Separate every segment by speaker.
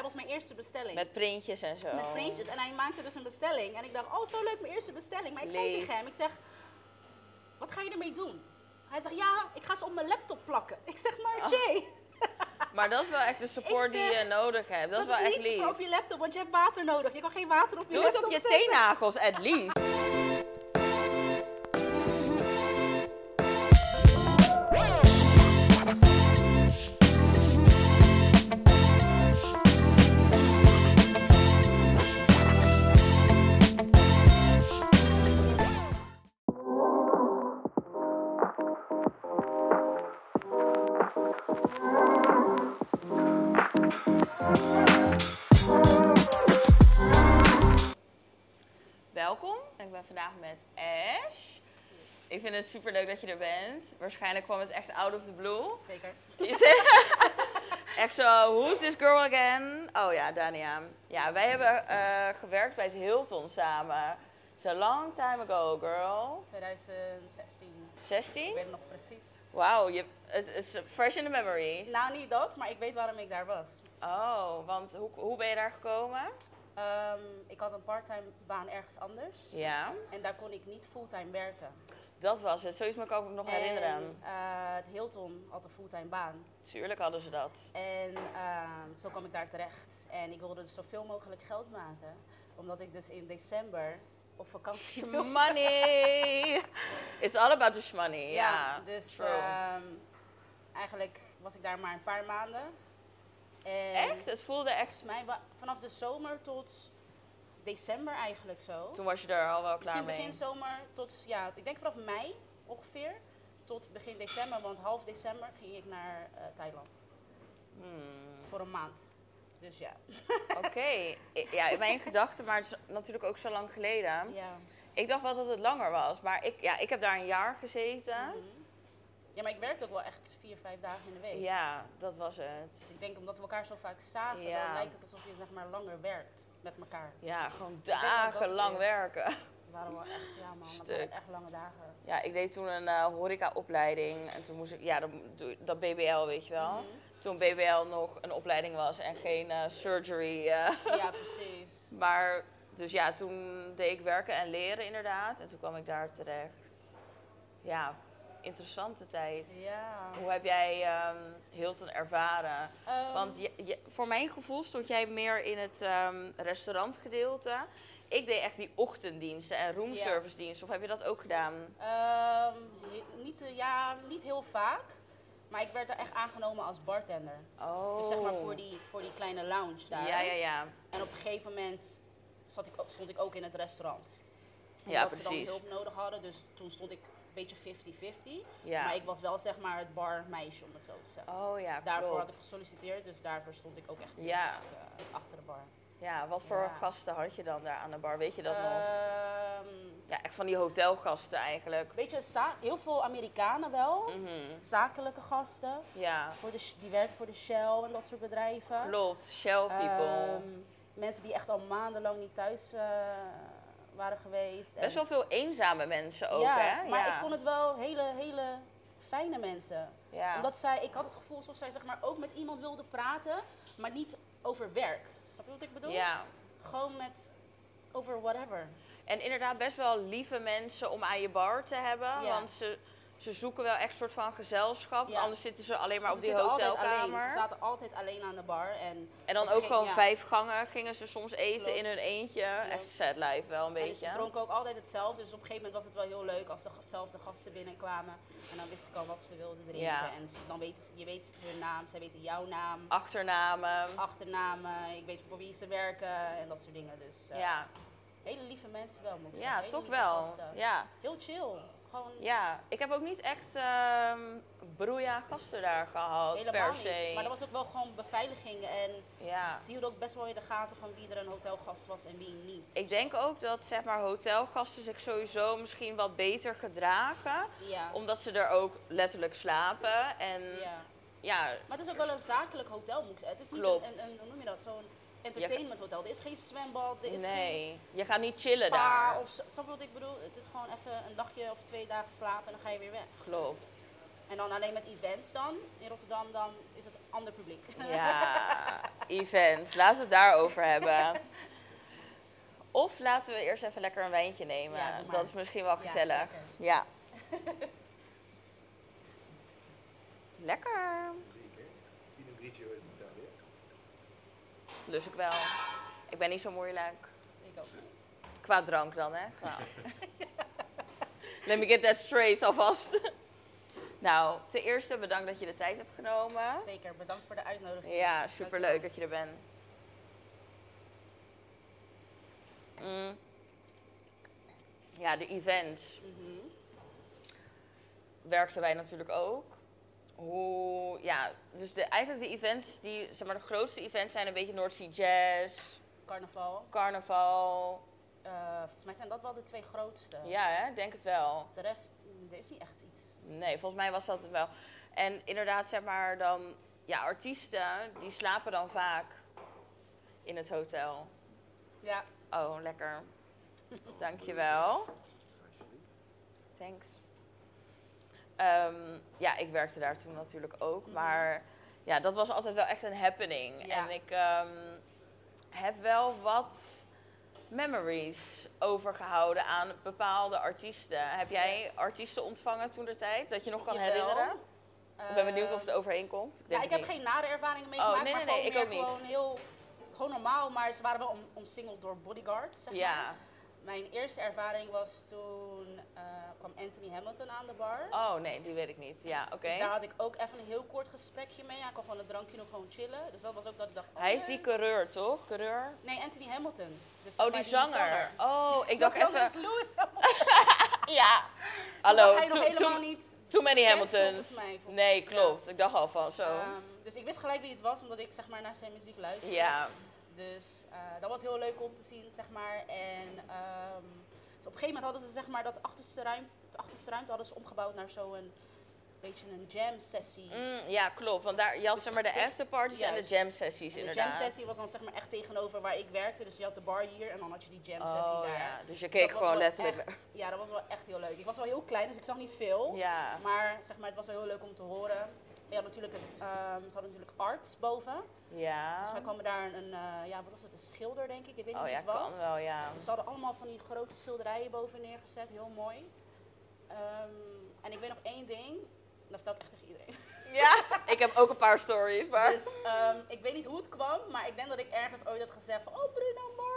Speaker 1: was mijn eerste bestelling.
Speaker 2: Met Oh. printjes en zo.
Speaker 1: Met printjes. En hij maakte dus een bestelling. En ik dacht, oh, zo leuk, mijn eerste bestelling. Maar ik zei
Speaker 2: Leeg.
Speaker 1: tegen hem, ik zeg, wat ga je ermee doen? Hij zegt, ja, ik ga ze op mijn laptop plakken. Ik zeg,
Speaker 2: Oh,
Speaker 1: maar Jay,
Speaker 2: Maar dat is wel echt de support
Speaker 1: Ik
Speaker 2: die je
Speaker 1: zeg,
Speaker 2: nodig hebt. Dat,
Speaker 1: dat,
Speaker 2: is wel echt
Speaker 1: niet
Speaker 2: lief.
Speaker 1: voor op je laptop, want je hebt water nodig. Je kan geen water op je
Speaker 2: Doe het
Speaker 1: laptop
Speaker 2: op je
Speaker 1: zetten.
Speaker 2: teennagels, at least. Welkom. Ik ben vandaag met Ash. Ik vind het super leuk dat je er bent. Waarschijnlijk kwam het echt out of the blue.
Speaker 1: Zeker.
Speaker 2: Je zegt- echt zo, who's this girl again? Oh ja, Dania. Ja, wij hebben eh, gewerkt bij het Hilton samen. It's a long time ago, girl.
Speaker 1: 2016,
Speaker 2: 16?
Speaker 1: weet nog precies.
Speaker 2: Wauw, je- het is fresh in the memory.
Speaker 1: Nou, niet dat, maar ik weet waarom ik daar was.
Speaker 2: Oh, want hoe, hoe ben je daar gekomen?
Speaker 1: Ehm, ik had een parttime baan ergens anders.
Speaker 2: Ja,
Speaker 1: En daar kon ik niet fulltime werken.
Speaker 2: dat was het. Zoiets moet ik ook nog
Speaker 1: En,
Speaker 2: herinneren.
Speaker 1: eh, het Hilton had een fulltime baan.
Speaker 2: Tuurlijk hadden ze dat.
Speaker 1: En ehm, zo kwam ik daar terecht. En ik wilde dus zoveel mogelijk geld maken. Omdat ik dus in december op vakantie wil.
Speaker 2: Money! It's all about the money. Ja, eh,
Speaker 1: dus
Speaker 2: true.
Speaker 1: ehm, eigenlijk was ik daar maar een paar maanden. En
Speaker 2: echt? Het voelde echt...
Speaker 1: Volgens mij wa- vanaf de zomer tot december eigenlijk zo.
Speaker 2: Toen was je er al wel klaar
Speaker 1: Misschien
Speaker 2: mee.
Speaker 1: begin zomer tot, ja, ik denk vanaf mei ongeveer. Tot begin december, want half december ging ik naar eh, Thailand.
Speaker 2: Hmm,
Speaker 1: Voor een maand. Dus ja.
Speaker 2: Oké. I- Ja, in mijn gedachten, maar het is natuurlijk ook zo lang geleden.
Speaker 1: Ja.
Speaker 2: Ik dacht wel dat het langer was, maar ik, ja, ik heb daar een jaar gezeten.
Speaker 1: Mhm. ja, maar ik werkte ook wel echt vier, vijf dagen in de week.
Speaker 2: Ja, dat was het.
Speaker 1: Dus ik denk omdat we elkaar zo vaak zagen,
Speaker 2: Ja.
Speaker 1: dan lijkt het alsof je zeg maar langer werkt met elkaar.
Speaker 2: Ja, gewoon
Speaker 1: denk dat dat
Speaker 2: dagenlang
Speaker 1: is.
Speaker 2: werken.
Speaker 1: We waren wel echt, ja man, dat
Speaker 2: Stuk.
Speaker 1: waren echt lange dagen.
Speaker 2: Ja, ik deed toen een eh, horecaopleiding. En toen moest ik, ja, dat, doe- dat BBL, weet je wel.
Speaker 1: Mhm.
Speaker 2: Toen BBL nog een opleiding was en geen eh, surgery. eh.
Speaker 1: Ja, precies.
Speaker 2: maar, dus ja, toen deed ik werken en leren inderdaad. En toen kwam ik daar terecht. Ja, interessante tijd.
Speaker 1: Ja.
Speaker 2: Hoe heb jij ehm Hilton ervaren?
Speaker 1: Ehm,
Speaker 2: Want je, je- voor mijn gevoel stond jij meer in het ehm, restaurantgedeelte. Ik deed echt die ochtenddiensten en roomservice diensten. Of heb je dat ook gedaan?
Speaker 1: Ehm, he- niet, eh, ja, niet heel vaak. Maar ik werd er echt aangenomen als bartender.
Speaker 2: Oh.
Speaker 1: Dus zeg maar voor die, voor die kleine lounge daar.
Speaker 2: Ja, ja, ja.
Speaker 1: En op een gegeven moment zat ik, ook- stond ik ook in het restaurant.
Speaker 2: Ja,
Speaker 1: Omdat ze
Speaker 2: precies.
Speaker 1: dan hulp nodig hadden. Dus toen stond ik een beetje 50-50.
Speaker 2: Ja.
Speaker 1: Maar ik was wel zeg maar het barmeisje, om het zo te zeggen.
Speaker 2: Oh ja,
Speaker 1: daarvoor
Speaker 2: klopt.
Speaker 1: had ik gesolliciteerd, dus daarvoor stond ik ook echt heel
Speaker 2: Ja.
Speaker 1: erg, eh, achter de bar.
Speaker 2: Ja, wat voor
Speaker 1: Ja. Eh,
Speaker 2: gasten had je dan daar aan de bar? Weet je dat nog?
Speaker 1: Ehm,
Speaker 2: Ja, echt van die hotelgasten eigenlijk.
Speaker 1: weet je, za- heel veel Amerikanen wel.
Speaker 2: Mhm.
Speaker 1: Zakelijke gasten.
Speaker 2: Ja,
Speaker 1: Voor de, sh- die werken voor de Shell en dat soort bedrijven.
Speaker 2: klopt. Shell people.
Speaker 1: Ehm, mensen die echt al maandenlang niet thuis eh, waren geweest. En-
Speaker 2: Best wel veel eenzame mensen ook,
Speaker 1: ja,
Speaker 2: hè?
Speaker 1: maar
Speaker 2: ja.
Speaker 1: ik vond het wel hele, hele fijne mensen.
Speaker 2: Ja.
Speaker 1: Omdat zij, ik had het gevoel alsof zij zeg maar, ook met iemand wilde praten, maar niet over werk. Snap je wat ik bedoel?
Speaker 2: ja.
Speaker 1: Gewoon met over whatever.
Speaker 2: En inderdaad best wel lieve mensen om aan je bar te hebben.
Speaker 1: Ja.
Speaker 2: Want ze, ze zoeken wel echt een soort van gezelschap.
Speaker 1: Ja.
Speaker 2: Anders zitten ze alleen maar
Speaker 1: Ze
Speaker 2: op die
Speaker 1: zitten altijd alleen. Ze
Speaker 2: hotelkamer.
Speaker 1: zaten altijd alleen aan de bar. En,
Speaker 2: En dan
Speaker 1: op een
Speaker 2: ook
Speaker 1: gege-
Speaker 2: gewoon
Speaker 1: ja.
Speaker 2: vijf gangen gingen ze soms eten
Speaker 1: Klopt.
Speaker 2: in hun eentje. Echt
Speaker 1: Klopt.
Speaker 2: sad life wel een
Speaker 1: En
Speaker 2: beetje.
Speaker 1: ze dronken ook altijd hetzelfde. Dus op een gegeven moment was het wel heel leuk als dezelfde gasten binnenkwamen. En dan wist ik al wat ze wilden drinken.
Speaker 2: Ja.
Speaker 1: En ze- dan weten ze, je weet hun naam, zij weten jouw naam,
Speaker 2: Achternamen.
Speaker 1: achternamen. Ik weet voor wie ze werken en dat soort dingen. Dus eh,
Speaker 2: Ja,
Speaker 1: hele lieve mensen wel, moet ik zeggen.
Speaker 2: ja
Speaker 1: Hele
Speaker 2: toch
Speaker 1: lieve
Speaker 2: wel.
Speaker 1: gasten.
Speaker 2: Ja.
Speaker 1: Heel chill. Gewoon
Speaker 2: ja, ik heb ook niet echt ehm broeia gasten daar gehad
Speaker 1: helemaal
Speaker 2: per se.
Speaker 1: niet. Maar dat was ook wel gewoon beveiliging. En
Speaker 2: Ja.
Speaker 1: ze hielden ook best wel in de gaten van wie er een hotelgast was en wie niet.
Speaker 2: Ik denk ook dat zeg maar, hotelgasten zich sowieso misschien wat beter gedragen.
Speaker 1: Ja.
Speaker 2: Omdat ze er ook letterlijk slapen. En ja,
Speaker 1: ja. Maar het is ook wel een zakelijk hotel, moet ik zeggen. Het is niet
Speaker 2: Klopt.
Speaker 1: Een, een, een, hoe noem je dat, zo'n entertainment hotel. Er is geen zwembad, er is geen
Speaker 2: nee. Je gaat niet chillen
Speaker 1: spa
Speaker 2: daar.
Speaker 1: of zo. Snap je wat ik bedoel? Het is gewoon even een dagje of twee dagen slapen en dan ga je weer weg.
Speaker 2: Klopt.
Speaker 1: En En dan alleen met events dan. In Rotterdam dan is het ander publiek.
Speaker 2: Ja, events. Laten we het daarover hebben. Of laten we eerst even lekker een wijntje nemen.
Speaker 1: Ja, doe maar.
Speaker 2: dat is misschien wel
Speaker 1: Ja,
Speaker 2: gezellig.
Speaker 1: lekker.
Speaker 2: Ja. lekker.
Speaker 3: Zeker. Pinot Grigio uit Italië.
Speaker 2: Dus ik wel. Ik ben niet zo moeilijk.
Speaker 1: Ik ook niet.
Speaker 2: Qua drank dan, hè? Qua- Let me get that straight alvast. nou, ten eerste bedankt dat je de tijd hebt genomen.
Speaker 1: Zeker, bedankt voor de uitnodiging.
Speaker 2: Ja, superleuk dat je er bent. Mm. Ja, de events
Speaker 1: Mhm.
Speaker 2: werkten wij natuurlijk ook. Hoe, ja, dus de, eigenlijk de events, die, zeg maar, de grootste events zijn een beetje North Sea Jazz,
Speaker 1: Carnaval.
Speaker 2: carnaval.
Speaker 1: Eh, volgens mij zijn dat wel de twee grootste.
Speaker 2: Ja, hè, denk het wel.
Speaker 1: De rest, mm, er is niet echt iets.
Speaker 2: Nee, volgens mij was dat het wel. En inderdaad, zeg maar dan, ja, artiesten, die slapen dan vaak in het hotel.
Speaker 1: Ja,
Speaker 2: Oh, lekker. Dankjewel.
Speaker 3: Alsjeblieft.
Speaker 2: Thanks. Ehm, ja, ik werkte daar toen natuurlijk ook.
Speaker 1: Mhm.
Speaker 2: Maar ja, dat was altijd wel echt een happening.
Speaker 1: Ja.
Speaker 2: En ik ehm, heb wel wat memories overgehouden aan bepaalde artiesten. Heb jij artiesten ontvangen toen de tijd? Dat je nog kan
Speaker 1: Jawel.
Speaker 2: herinneren? Ik ben benieuwd of het
Speaker 1: Eh,
Speaker 2: overheen komt. Ik,
Speaker 1: ja,
Speaker 2: denk
Speaker 1: ik
Speaker 2: het
Speaker 1: heb
Speaker 2: niet.
Speaker 1: geen nare ervaringen mee
Speaker 2: Oh,
Speaker 1: gemaakt,
Speaker 2: nee,
Speaker 1: maar
Speaker 2: nee, nee,
Speaker 1: gewoon
Speaker 2: ik
Speaker 1: meer
Speaker 2: ook niet.
Speaker 1: gewoon heel... Gewoon normaal, maar ze waren wel om, omsingeld door bodyguards, zeg maar.
Speaker 2: Ja.
Speaker 1: Mijn eerste ervaring was toen eh, kwam Anthony Hamilton aan de bar.
Speaker 2: Oh nee, die weet ik niet. Ja, oké.
Speaker 1: Dus daar had ik ook even een heel kort gesprekje mee. Hij kon gewoon een drankje nog gewoon chillen. Dus dat was ook dat ik dacht... oh,
Speaker 2: Hij is
Speaker 1: nee.
Speaker 2: die coureur, toch? Coureur?
Speaker 1: Nee, Anthony Hamilton. Dus
Speaker 2: Oh,
Speaker 1: maar
Speaker 2: die zanger. Oh, ik dacht even...
Speaker 1: Dat was Lewis Hamilton.
Speaker 2: Ja.
Speaker 1: was
Speaker 2: Hallo,
Speaker 1: hij nog
Speaker 2: too,
Speaker 1: helemaal
Speaker 2: too,
Speaker 1: niet...
Speaker 2: too many
Speaker 1: bekend,
Speaker 2: Hamiltons.
Speaker 1: volgens mij, volgens-
Speaker 2: Nee,
Speaker 1: ja.
Speaker 2: klopt. Ik dacht al van zo.
Speaker 1: Ehm, dus ik wist gelijk wie het was, omdat ik zeg maar naar zijn muziek luisterde.
Speaker 2: ja,
Speaker 1: Dus eh, dat was heel leuk om te zien, zeg maar. En ehm, dus op een gegeven moment hadden ze zeg maar dat achterste ruimte, de achterste ruimte hadden ze omgebouwd naar zo'n beetje een jam sessie.
Speaker 2: Mm, ja, klopt. Want daar, je had
Speaker 1: Dus
Speaker 2: zeg maar de
Speaker 1: ik-
Speaker 2: afterparties en de
Speaker 1: juist.
Speaker 2: jam sessies
Speaker 1: En de
Speaker 2: inderdaad.
Speaker 1: jam sessie was dan zeg maar echt tegenover waar ik werkte. Dus je had de bar hier en dan had je die jam sessie
Speaker 2: oh,
Speaker 1: daar.
Speaker 2: ja. Dus je
Speaker 1: Dat
Speaker 2: keek
Speaker 1: was
Speaker 2: gewoon
Speaker 1: wel
Speaker 2: letterlijk...
Speaker 1: echt- ja, dat was wel echt heel leuk. Ik was wel heel klein, dus ik zag niet veel.
Speaker 2: Ja.
Speaker 1: Maar zeg maar, het was wel heel leuk om te horen. En Je had natuurlijk, een, ehm, ze hadden natuurlijk arts boven. Volgens
Speaker 2: Ja.
Speaker 1: mij kwam er Dus daar een, een, eh, ja, wat was het, een schilder denk ik. Ik weet niet
Speaker 2: Ah. Oh
Speaker 1: wie
Speaker 2: ja,
Speaker 1: het was.
Speaker 2: kan wel, ja.
Speaker 1: Dus ze hadden allemaal van die grote schilderijen boven neergezet, heel mooi. Ehm, en ik weet nog één ding, en dat vertel ik echt tegen iedereen.
Speaker 2: Ja, ik heb ook een paar stories, maar...
Speaker 1: Dus ehm, ik weet niet hoe het kwam, maar ik denk dat ik ergens ooit had gezegd van, oh Bruno Mars,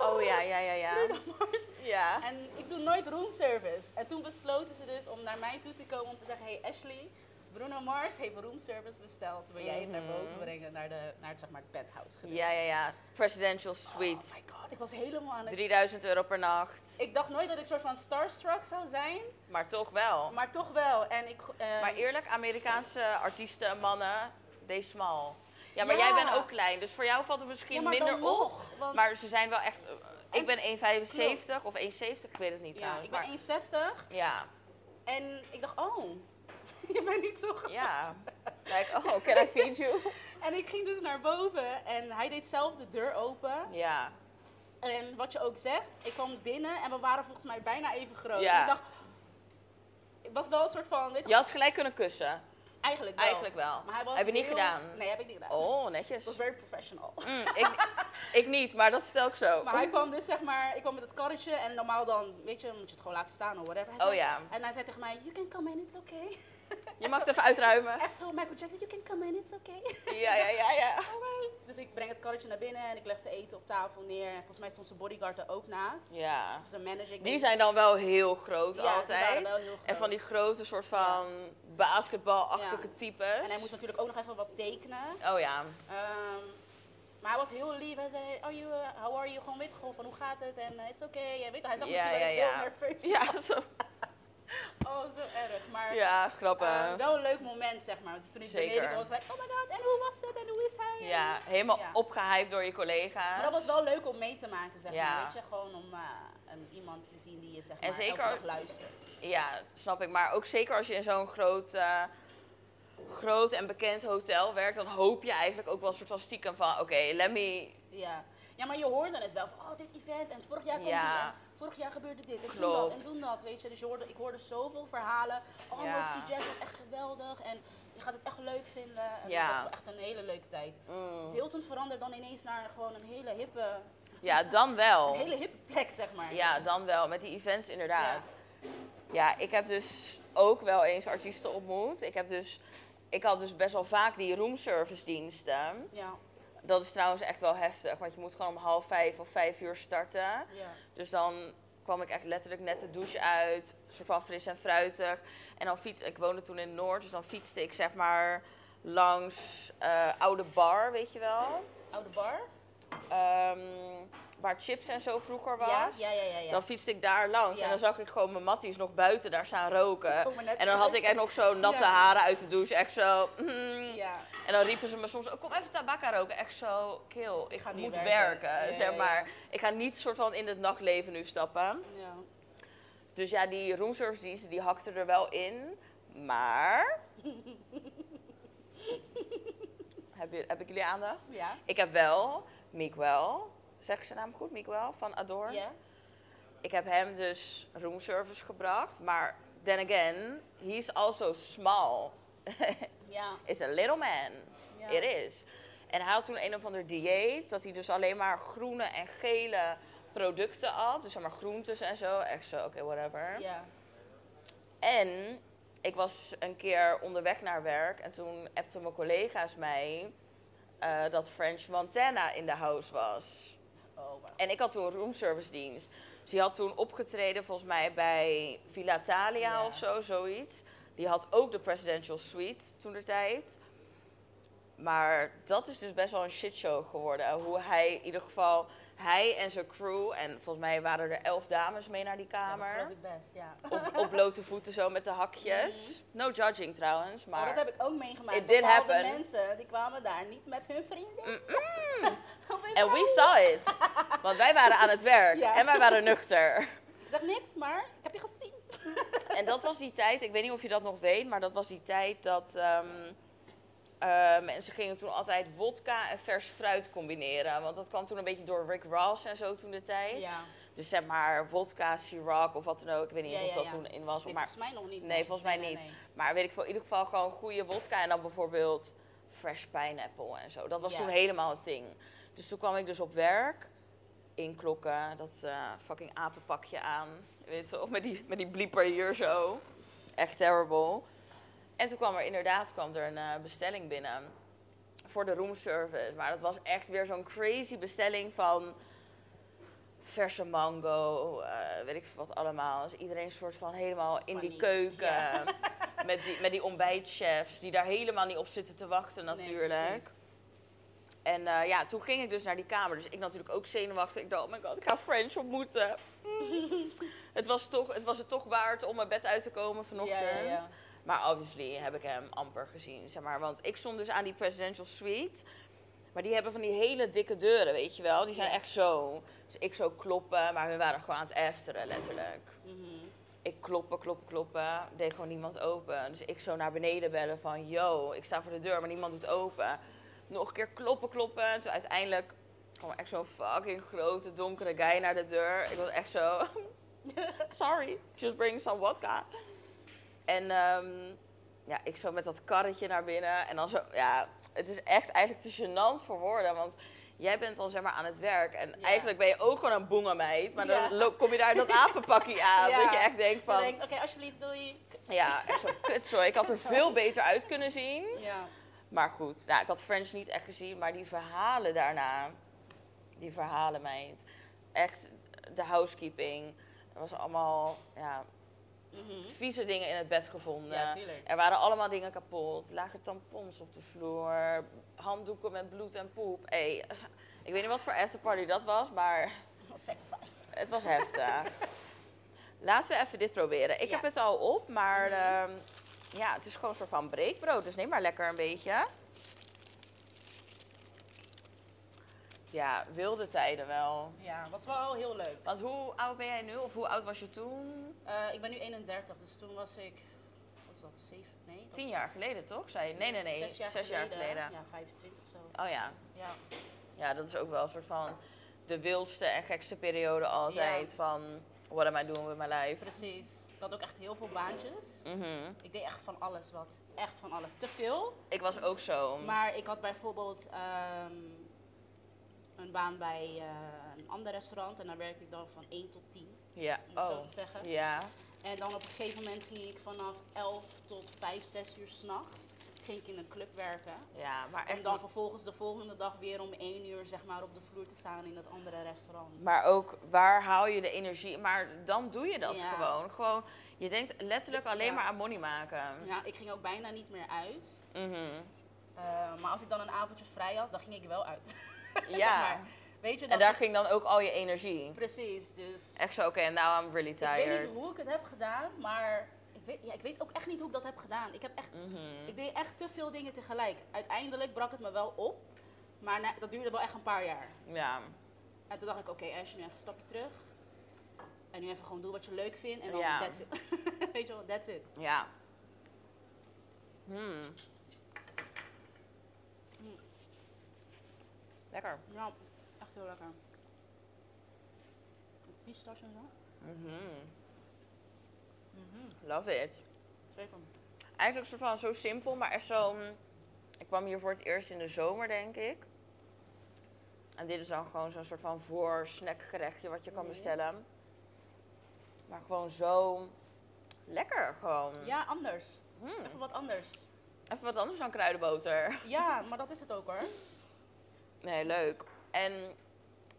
Speaker 2: Oh ja, ja, ja, ja.
Speaker 1: Bruno Mars.
Speaker 2: Ja.
Speaker 1: En ik doe nooit roomservice. En toen besloten ze dus om naar mij toe te komen om te zeggen, hey Ashley, Bruno Mars heeft roomservice besteld. Wil jij het naar boven
Speaker 2: Mhm.
Speaker 1: brengen, naar, de, naar het, zeg maar, het penthouse gedeelte?
Speaker 2: Ja, ja, ja. Presidential Suite.
Speaker 1: Oh my god, ik was helemaal aan het...
Speaker 2: 3000 euro per nacht.
Speaker 1: Ik dacht nooit dat ik soort van starstruck zou zijn,
Speaker 2: Maar toch wel.
Speaker 1: maar toch wel. En ik, eh,
Speaker 2: Maar eerlijk, Amerikaanse artiesten, mannen, they small. Ja, maar
Speaker 1: Ja.
Speaker 2: jij bent ook klein, dus voor jou valt het misschien
Speaker 1: Ja, maar
Speaker 2: minder
Speaker 1: dan
Speaker 2: op.
Speaker 1: nog, want-
Speaker 2: Maar ze zijn wel echt. eh, ik
Speaker 1: En-
Speaker 2: ben 1,75 of 1,70, ik weet het niet
Speaker 1: ja,
Speaker 2: trouwens.
Speaker 1: ik ben
Speaker 2: maar-
Speaker 1: 1,60
Speaker 2: Ja,
Speaker 1: en ik dacht, oh, je bent niet zo groot.
Speaker 2: ja. Like, oh, can I feed you?
Speaker 1: En ik ging dus naar boven en hij deed zelf de deur open.
Speaker 2: Ja,
Speaker 1: En wat je ook zegt, ik kwam binnen en we waren volgens mij bijna even groot.
Speaker 2: Ja.
Speaker 1: En Ik dacht, ik was wel een soort van, weet je,
Speaker 2: je had gelijk kunnen kussen.
Speaker 1: eigenlijk wel.
Speaker 2: Eigenlijk wel.
Speaker 1: Maar hij was
Speaker 2: heb je niet
Speaker 1: heel-
Speaker 2: gedaan?
Speaker 1: Nee, heb ik niet gedaan.
Speaker 2: Oh,
Speaker 1: Het
Speaker 2: netjes.
Speaker 1: was very professional.
Speaker 2: Mm, ik, ik niet, maar dat vertel ik zo.
Speaker 1: Maar hij kwam dus zeg maar, ik kwam met het karretje en normaal dan, weet je, moet je het gewoon laten staan of whatever. Hij
Speaker 2: Oh
Speaker 1: zei-
Speaker 2: ja.
Speaker 1: En hij zei tegen mij, you can come in, it's okay.
Speaker 2: Je mag het even uitruimen.
Speaker 1: Echt zo, Michael Jackson, you can come in, it's okay.
Speaker 2: Ja, ja, ja, ja.
Speaker 1: Alright. Dus ik breng het karretje naar binnen en ik leg zijn eten op tafel neer. En volgens mij stond zijn bodyguard er ook naast.
Speaker 2: Ja.
Speaker 1: Of zijn manager. ik
Speaker 2: Die
Speaker 1: weet
Speaker 2: zijn dan wel heel groot
Speaker 1: niet. ja, die
Speaker 2: altijd.
Speaker 1: waren wel heel groot.
Speaker 2: En van die grote soort van basketbalachtige
Speaker 1: Ja.
Speaker 2: types.
Speaker 1: En hij moest natuurlijk ook nog even wat tekenen.
Speaker 2: Oh ja.
Speaker 1: Ehm, maar hij was heel lief. Hij zei, are you, eh, how are you? Gewoon weet ik gewoon van hoe gaat het en eh, it's okay. Jij weet, hij zag
Speaker 2: Ja,
Speaker 1: misschien wel
Speaker 2: ja,
Speaker 1: echt
Speaker 2: ja.
Speaker 1: heel nerveus.
Speaker 2: Ja, zo,
Speaker 1: Oh, zo erg. Maar
Speaker 2: ja grappig.
Speaker 1: ehm, wel een leuk moment, zeg maar. Dus toen ik
Speaker 2: Zeker.
Speaker 1: beneden kwam, was ik, oh my god, en hoe was het en hoe is hij?
Speaker 2: ja, helemaal
Speaker 1: ja.
Speaker 2: opgehyped door je collega's.
Speaker 1: Maar dat was wel leuk om mee te maken, zeg
Speaker 2: Ja.
Speaker 1: maar. Weet je, gewoon om eh, een, iemand te zien die je zeg
Speaker 2: En
Speaker 1: maar
Speaker 2: zeker
Speaker 1: elke
Speaker 2: ook-
Speaker 1: dag luistert.
Speaker 2: Ja, snap ik. Maar ook zeker als je in zo'n groot, eh, groot en bekend hotel werkt, dan hoop je eigenlijk ook wel een soort van stiekem van, oké, let me...
Speaker 1: Ja. ja, maar je hoorde het wel van, oh, dit event en vorig jaar kwam
Speaker 2: Ja.
Speaker 1: die. En vorig jaar gebeurde dit. En toen
Speaker 2: Klopt.
Speaker 1: dat, en toen dat, weet je. Dus je hoorde, ik hoorde zoveel verhalen. Oh,
Speaker 2: Ja.
Speaker 1: Roxy Jazz was echt geweldig. En je gaat het echt leuk vinden. En
Speaker 2: Ja.
Speaker 1: dat was wel echt een hele leuke tijd.
Speaker 2: Mm.
Speaker 1: Hilton verandert dan ineens naar gewoon een hele hippe,
Speaker 2: Ja, dan wel.
Speaker 1: een hele hippe plek, zeg maar.
Speaker 2: Oh. Ja, dan wel. Met die events inderdaad. Ja. ik heb dus ook wel eens artiesten ontmoet. Ik, heb dus, ik had dus best wel vaak die roomservice diensten.
Speaker 1: Ja,
Speaker 2: Dat is trouwens echt wel heftig, want je moet gewoon om half vijf of vijf uur starten.
Speaker 1: ja.
Speaker 2: Dus dan kwam ik echt letterlijk net de douche uit, soort van fris en fruitig. En dan fiets ik woonde toen in Noord, dus dan fietste ik zeg maar langs eh, Oude Bar, weet je wel.
Speaker 1: Oude bar.
Speaker 2: Ehm, waar chips en zo vroeger was.
Speaker 1: Ja, ja, ja, ja. ja.
Speaker 2: Dan fietste ik daar langs
Speaker 1: Ja.
Speaker 2: en dan zag ik gewoon mijn matties nog buiten daar staan roken.
Speaker 1: Kom maar net
Speaker 2: eh, En dan had
Speaker 1: terug.
Speaker 2: ik echt nog zo natte
Speaker 1: Ja.
Speaker 2: haren uit de douche, echt zo. mm.
Speaker 1: Ja,
Speaker 2: En dan riepen ze me soms, oh, kom even tabak aan roken. Echt zo, kil, ik,
Speaker 1: ga nu
Speaker 2: moet
Speaker 1: werken.
Speaker 2: werken,
Speaker 1: Ja, ja,
Speaker 2: zeg
Speaker 1: ja.
Speaker 2: maar. Ik ga niet soort van in het nachtleven nu stappen.
Speaker 1: ja.
Speaker 2: Dus ja, die roomservice diensten, die hakte er wel in. Maar... heb, je, heb ik jullie aandacht?
Speaker 1: Ja.
Speaker 2: Ik heb wel Miguel, zeg ik zijn naam goed? Miguel van Ador.
Speaker 1: Ja.
Speaker 2: Ik heb hem dus roomservice gebracht. Maar then again, he's also small.
Speaker 1: Ja.
Speaker 2: Is a little man.
Speaker 1: ja.
Speaker 2: It is. En hij had toen een of ander dieet, dat hij dus alleen maar groene en gele producten at. Dus zeg maar groentes en zo. Echt zo, oké, whatever.
Speaker 1: Ja.
Speaker 2: En ik was een keer onderweg naar werk en toen appten mijn collega's mij eh, dat French Montana in de house was.
Speaker 1: Oh, wauw.
Speaker 2: En ik had toen roomservice dienst. Dus die had toen opgetreden volgens mij bij Villa Thalia
Speaker 1: Ja.
Speaker 2: of zo, zoiets. Die had ook de presidential suite toen de tijd. Maar dat is dus best wel een shitshow geworden. Hoe hij in ieder geval, hij en zijn crew, en volgens mij waren er elf dames mee naar die kamer.
Speaker 1: Ja, dat geloof ik best, ja.
Speaker 2: op, op blote voeten zo met de hakjes. No judging trouwens,
Speaker 1: Maar
Speaker 2: maar...
Speaker 1: Mhm. Oh, dat heb ik ook meegemaakt.
Speaker 2: It did
Speaker 1: Bepaalde
Speaker 2: happen.
Speaker 1: mensen die kwamen daar niet met hun vrienden. Of ik
Speaker 2: En we saw it. Want wij waren aan het werk
Speaker 1: Ja.
Speaker 2: en wij waren nuchter.
Speaker 1: Ik zeg niks, maar ik heb je gezien.
Speaker 2: En dat was die tijd, ik weet niet of je dat nog weet, maar dat was die tijd dat ehm, eh, mensen gingen toen altijd wodka en vers fruit combineren. Want dat kwam toen een beetje door Rick Ross en zo toen de tijd.
Speaker 1: Ja.
Speaker 2: Dus zeg maar wodka, Ciroc of wat dan ook. Ik weet niet
Speaker 1: Ja,
Speaker 2: of
Speaker 1: ja,
Speaker 2: dat
Speaker 1: ja.
Speaker 2: toen in was.
Speaker 1: Nee,
Speaker 2: maar
Speaker 1: volgens mij nog niet.
Speaker 2: Nee, volgens mij niet. Maar weet ik veel, in ieder geval gewoon goede wodka en dan bijvoorbeeld fresh pineapple en zo. Dat was
Speaker 1: Ja.
Speaker 2: toen helemaal het ding. Dus toen kwam ik dus op werk, inklokken, dat eh, fucking apenpakje aan. Weet je wel, met die, met die blieper hier zo. Echt terrible. En toen kwam er inderdaad kwam er een eh, bestelling binnen voor de roomservice. Maar dat was echt weer zo'n crazy bestelling van verse mango, eh, weet ik veel wat allemaal. Dus iedereen soort van helemaal in die
Speaker 1: Paniek,
Speaker 2: keuken.
Speaker 1: ja.
Speaker 2: Met, die, met die ontbijtchefs die daar helemaal niet op zitten te wachten
Speaker 1: Nee,
Speaker 2: natuurlijk.
Speaker 1: precies.
Speaker 2: en eh, ja, toen ging ik dus naar die kamer. Dus ik natuurlijk ook zenuwachtig. Ik dacht, oh my god, ik ga French ontmoeten. Mm. het, was toch, het was het toch waard om mijn bed uit te komen vanochtend.
Speaker 1: Ja, ja, ja.
Speaker 2: Maar obviously heb ik hem amper gezien, zeg maar. Want ik stond dus aan die presidential suite. Maar die hebben van die hele dikke deuren, weet je wel. Die zijn
Speaker 1: Ja.
Speaker 2: echt zo. Dus ik zou kloppen, maar we waren gewoon aan het efteren, letterlijk.
Speaker 1: Mhm.
Speaker 2: Ik kloppen, kloppen, kloppen. Deed gewoon niemand open. Dus ik zo naar beneden bellen van... Yo, ik sta voor de deur, maar niemand doet open. Nog een keer kloppen, kloppen. Toen uiteindelijk kwam echt zo'n fucking grote, donkere guy naar de deur. Ik was echt zo... Sorry, just bring some vodka. En ehm, ja, ik zo met dat karretje naar binnen. En dan zo... Ja, het is echt eigenlijk te gênant voor woorden, want... Jij bent al zeg maar aan het werk en
Speaker 1: Ja.
Speaker 2: eigenlijk ben je ook gewoon een boengemeid. Maar
Speaker 1: Ja.
Speaker 2: dan lo- kom je daar in dat apenpakje aan.
Speaker 1: Ja.
Speaker 2: Dat je echt denkt
Speaker 1: Dan
Speaker 2: van...
Speaker 1: denk ik, oké, alsjeblieft, doei.
Speaker 2: Ja, echt zo kut zo. Ik had er veel beter uit kunnen zien.
Speaker 1: Ja.
Speaker 2: Maar goed, nou, ik had French niet echt gezien. Maar die verhalen daarna, die verhalen meid. Echt, de housekeeping. Er was allemaal ja,
Speaker 1: Mhm.
Speaker 2: vieze dingen in het bed gevonden.
Speaker 1: Ja, tuurlijk.
Speaker 2: er waren allemaal dingen kapot. Lagen tampons op de vloer. Handdoeken met bloed en poep. Hey, ik weet niet wat voor afterparty dat was, maar
Speaker 1: Sacrifice.
Speaker 2: het was heftig. Laten we even dit proberen. Ik
Speaker 1: Ja.
Speaker 2: heb het al op, maar
Speaker 1: Mhm.
Speaker 2: ehm, ja, het is gewoon een soort van breekbrood. Dus neem maar lekker een beetje. Ja, wilde tijden wel.
Speaker 1: Ja, was wel heel leuk.
Speaker 2: Want hoe oud ben jij nu? Of hoe oud was je toen?
Speaker 1: Eh, ik ben nu 31, dus toen was ik, wat was dat, 7, nee? dat
Speaker 2: Tien
Speaker 1: is-
Speaker 2: jaar geleden, toch? Zei je? Nee, nee, nee.
Speaker 1: Zes jaar,
Speaker 2: Zes jaar geleden.
Speaker 1: Ja, 25 zo.
Speaker 2: Oh ja.
Speaker 1: Ja.
Speaker 2: Ja, dat is ook wel een soort van de wildste en gekste periode al
Speaker 1: Ja.
Speaker 2: zei het van... What am I doing with my life?
Speaker 1: Precies. Ik had ook echt heel veel baantjes.
Speaker 2: Mhm.
Speaker 1: Ik deed echt van alles wat. Echt van alles. Te veel.
Speaker 2: Ik was ook zo.
Speaker 1: Maar ik had bijvoorbeeld ehm, een baan bij eh, een ander restaurant. En daar werkte ik dan van 1 tot 10,
Speaker 2: ja.
Speaker 1: om het zo
Speaker 2: Oh.
Speaker 1: te zeggen.
Speaker 2: Ja.
Speaker 1: En dan op een gegeven moment ging ik vanaf 11 tot 5, 6 uur s'nachts ging ik in een club werken.
Speaker 2: Ja, maar
Speaker 1: En
Speaker 2: echt...
Speaker 1: dan vervolgens de volgende dag weer om 1 uur zeg maar, op de vloer te staan in dat andere restaurant.
Speaker 2: Maar ook, waar haal je de energie? Maar dan doe je dat
Speaker 1: Ja.
Speaker 2: gewoon. Gewoon, je denkt letterlijk alleen
Speaker 1: Ja.
Speaker 2: maar aan money maken.
Speaker 1: Ja, ik ging ook bijna niet meer uit.
Speaker 2: Mhm.
Speaker 1: Eh, maar als ik dan een avondje vrij had, dan ging ik wel uit.
Speaker 2: Ja.
Speaker 1: Zeg maar. Weet je,
Speaker 2: En
Speaker 1: dat
Speaker 2: daar ging dan ook al je energie.
Speaker 1: Precies, dus...
Speaker 2: Echt zo, oké, en now I'm really
Speaker 1: Ik
Speaker 2: tired.
Speaker 1: weet niet hoe ik het heb gedaan, maar ik weet, ja, ik weet ook echt niet hoe ik dat heb gedaan. Ik, heb echt,
Speaker 2: Mhm.
Speaker 1: ik deed echt te veel dingen tegelijk. Uiteindelijk brak het me wel op, maar na- dat duurde wel echt een paar jaar.
Speaker 2: Ja,
Speaker 1: En toen dacht ik, oké, Ash, nu even een stapje terug. En nu even gewoon doen wat je leuk vindt en dan
Speaker 2: Ja.
Speaker 1: that's it. weet je wel, that's it.
Speaker 2: ja. Hmm.
Speaker 1: Mm.
Speaker 2: Lekker.
Speaker 1: Ja, echt heel lekker. Pistache en zo.
Speaker 2: Mhm. Love it.
Speaker 1: Zeker.
Speaker 2: Eigenlijk soort van zo simpel, maar echt zo... mm, Ik kwam hier voor het eerst in de zomer, denk ik. En dit is dan gewoon zo'n soort van voor-snackgerechtje wat je kan
Speaker 1: Mhm.
Speaker 2: bestellen. Maar gewoon zo lekker, gewoon.
Speaker 1: Ja, anders.
Speaker 2: Mm.
Speaker 1: Even wat anders.
Speaker 2: Even wat anders dan kruidenboter.
Speaker 1: Ja, maar dat is het ook hoor.
Speaker 2: Nee, leuk. En,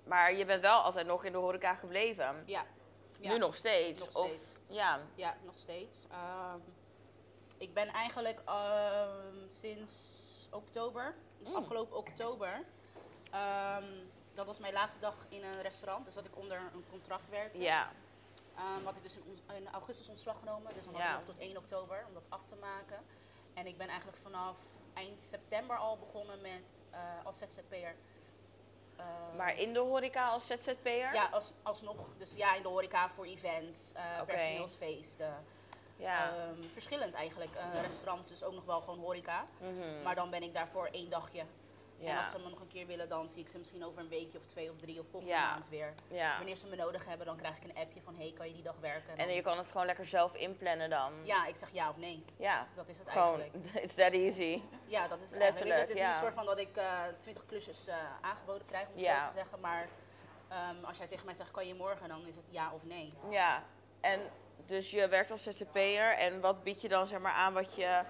Speaker 2: maar je bent wel altijd nog in de horeca gebleven.
Speaker 1: Ja. ja.
Speaker 2: Nu nog steeds.
Speaker 1: Nog
Speaker 2: of,
Speaker 1: steeds.
Speaker 2: Ja.
Speaker 1: Ja, nog steeds. Ehm, ik ben eigenlijk ehm, sinds oktober, dus
Speaker 2: Mm.
Speaker 1: afgelopen oktober, ehm, dat was mijn laatste dag in een restaurant, dus dat ik onder een contract werkte.
Speaker 2: Ja.
Speaker 1: Ehm, had ik dus in, ons- in augustus ontslag genomen, dus dan
Speaker 2: Ja.
Speaker 1: had ik nog tot 1 oktober om dat af te maken. En ik ben eigenlijk vanaf eind september al begonnen met eh, als ZZP'er. Ehm,
Speaker 2: Maar in de horeca als ZZP'er?
Speaker 1: ja, als, alsnog. Dus ja, in de horeca voor events, eh,
Speaker 2: Oké.
Speaker 1: personeelsfeesten.
Speaker 2: Ja.
Speaker 1: Ehm, verschillend eigenlijk. Eh, restaurants is ook nog wel gewoon horeca.
Speaker 2: Mhm.
Speaker 1: Maar dan ben ik daarvoor één dagje. En
Speaker 2: ja.
Speaker 1: als ze me nog een keer willen, dan zie ik ze misschien over een weekje of twee of drie of volgende
Speaker 2: Ja.
Speaker 1: maand weer.
Speaker 2: ja.
Speaker 1: Wanneer ze me nodig hebben, dan krijg ik een appje van, hey, kan je die dag werken?
Speaker 2: En
Speaker 1: Dan-
Speaker 2: je kan het gewoon lekker zelf inplannen dan?
Speaker 1: Ja, ik zeg ja of nee.
Speaker 2: Ja.
Speaker 1: Dat is het
Speaker 2: Gewoon,
Speaker 1: eigenlijk.
Speaker 2: it's that easy.
Speaker 1: Ja, dat is het
Speaker 2: Letterlijk,
Speaker 1: eigenlijk. Weet je, Het is
Speaker 2: ja.
Speaker 1: niet soort van dat ik twintig klusjes eh, aangeboden krijg, om het
Speaker 2: Ja.
Speaker 1: zo te zeggen. Maar ehm, als jij tegen mij zegt, kan je morgen? Dan is het ja of nee.
Speaker 2: Ja. En dus je werkt als ZZP'er en wat bied je dan zeg maar aan wat je...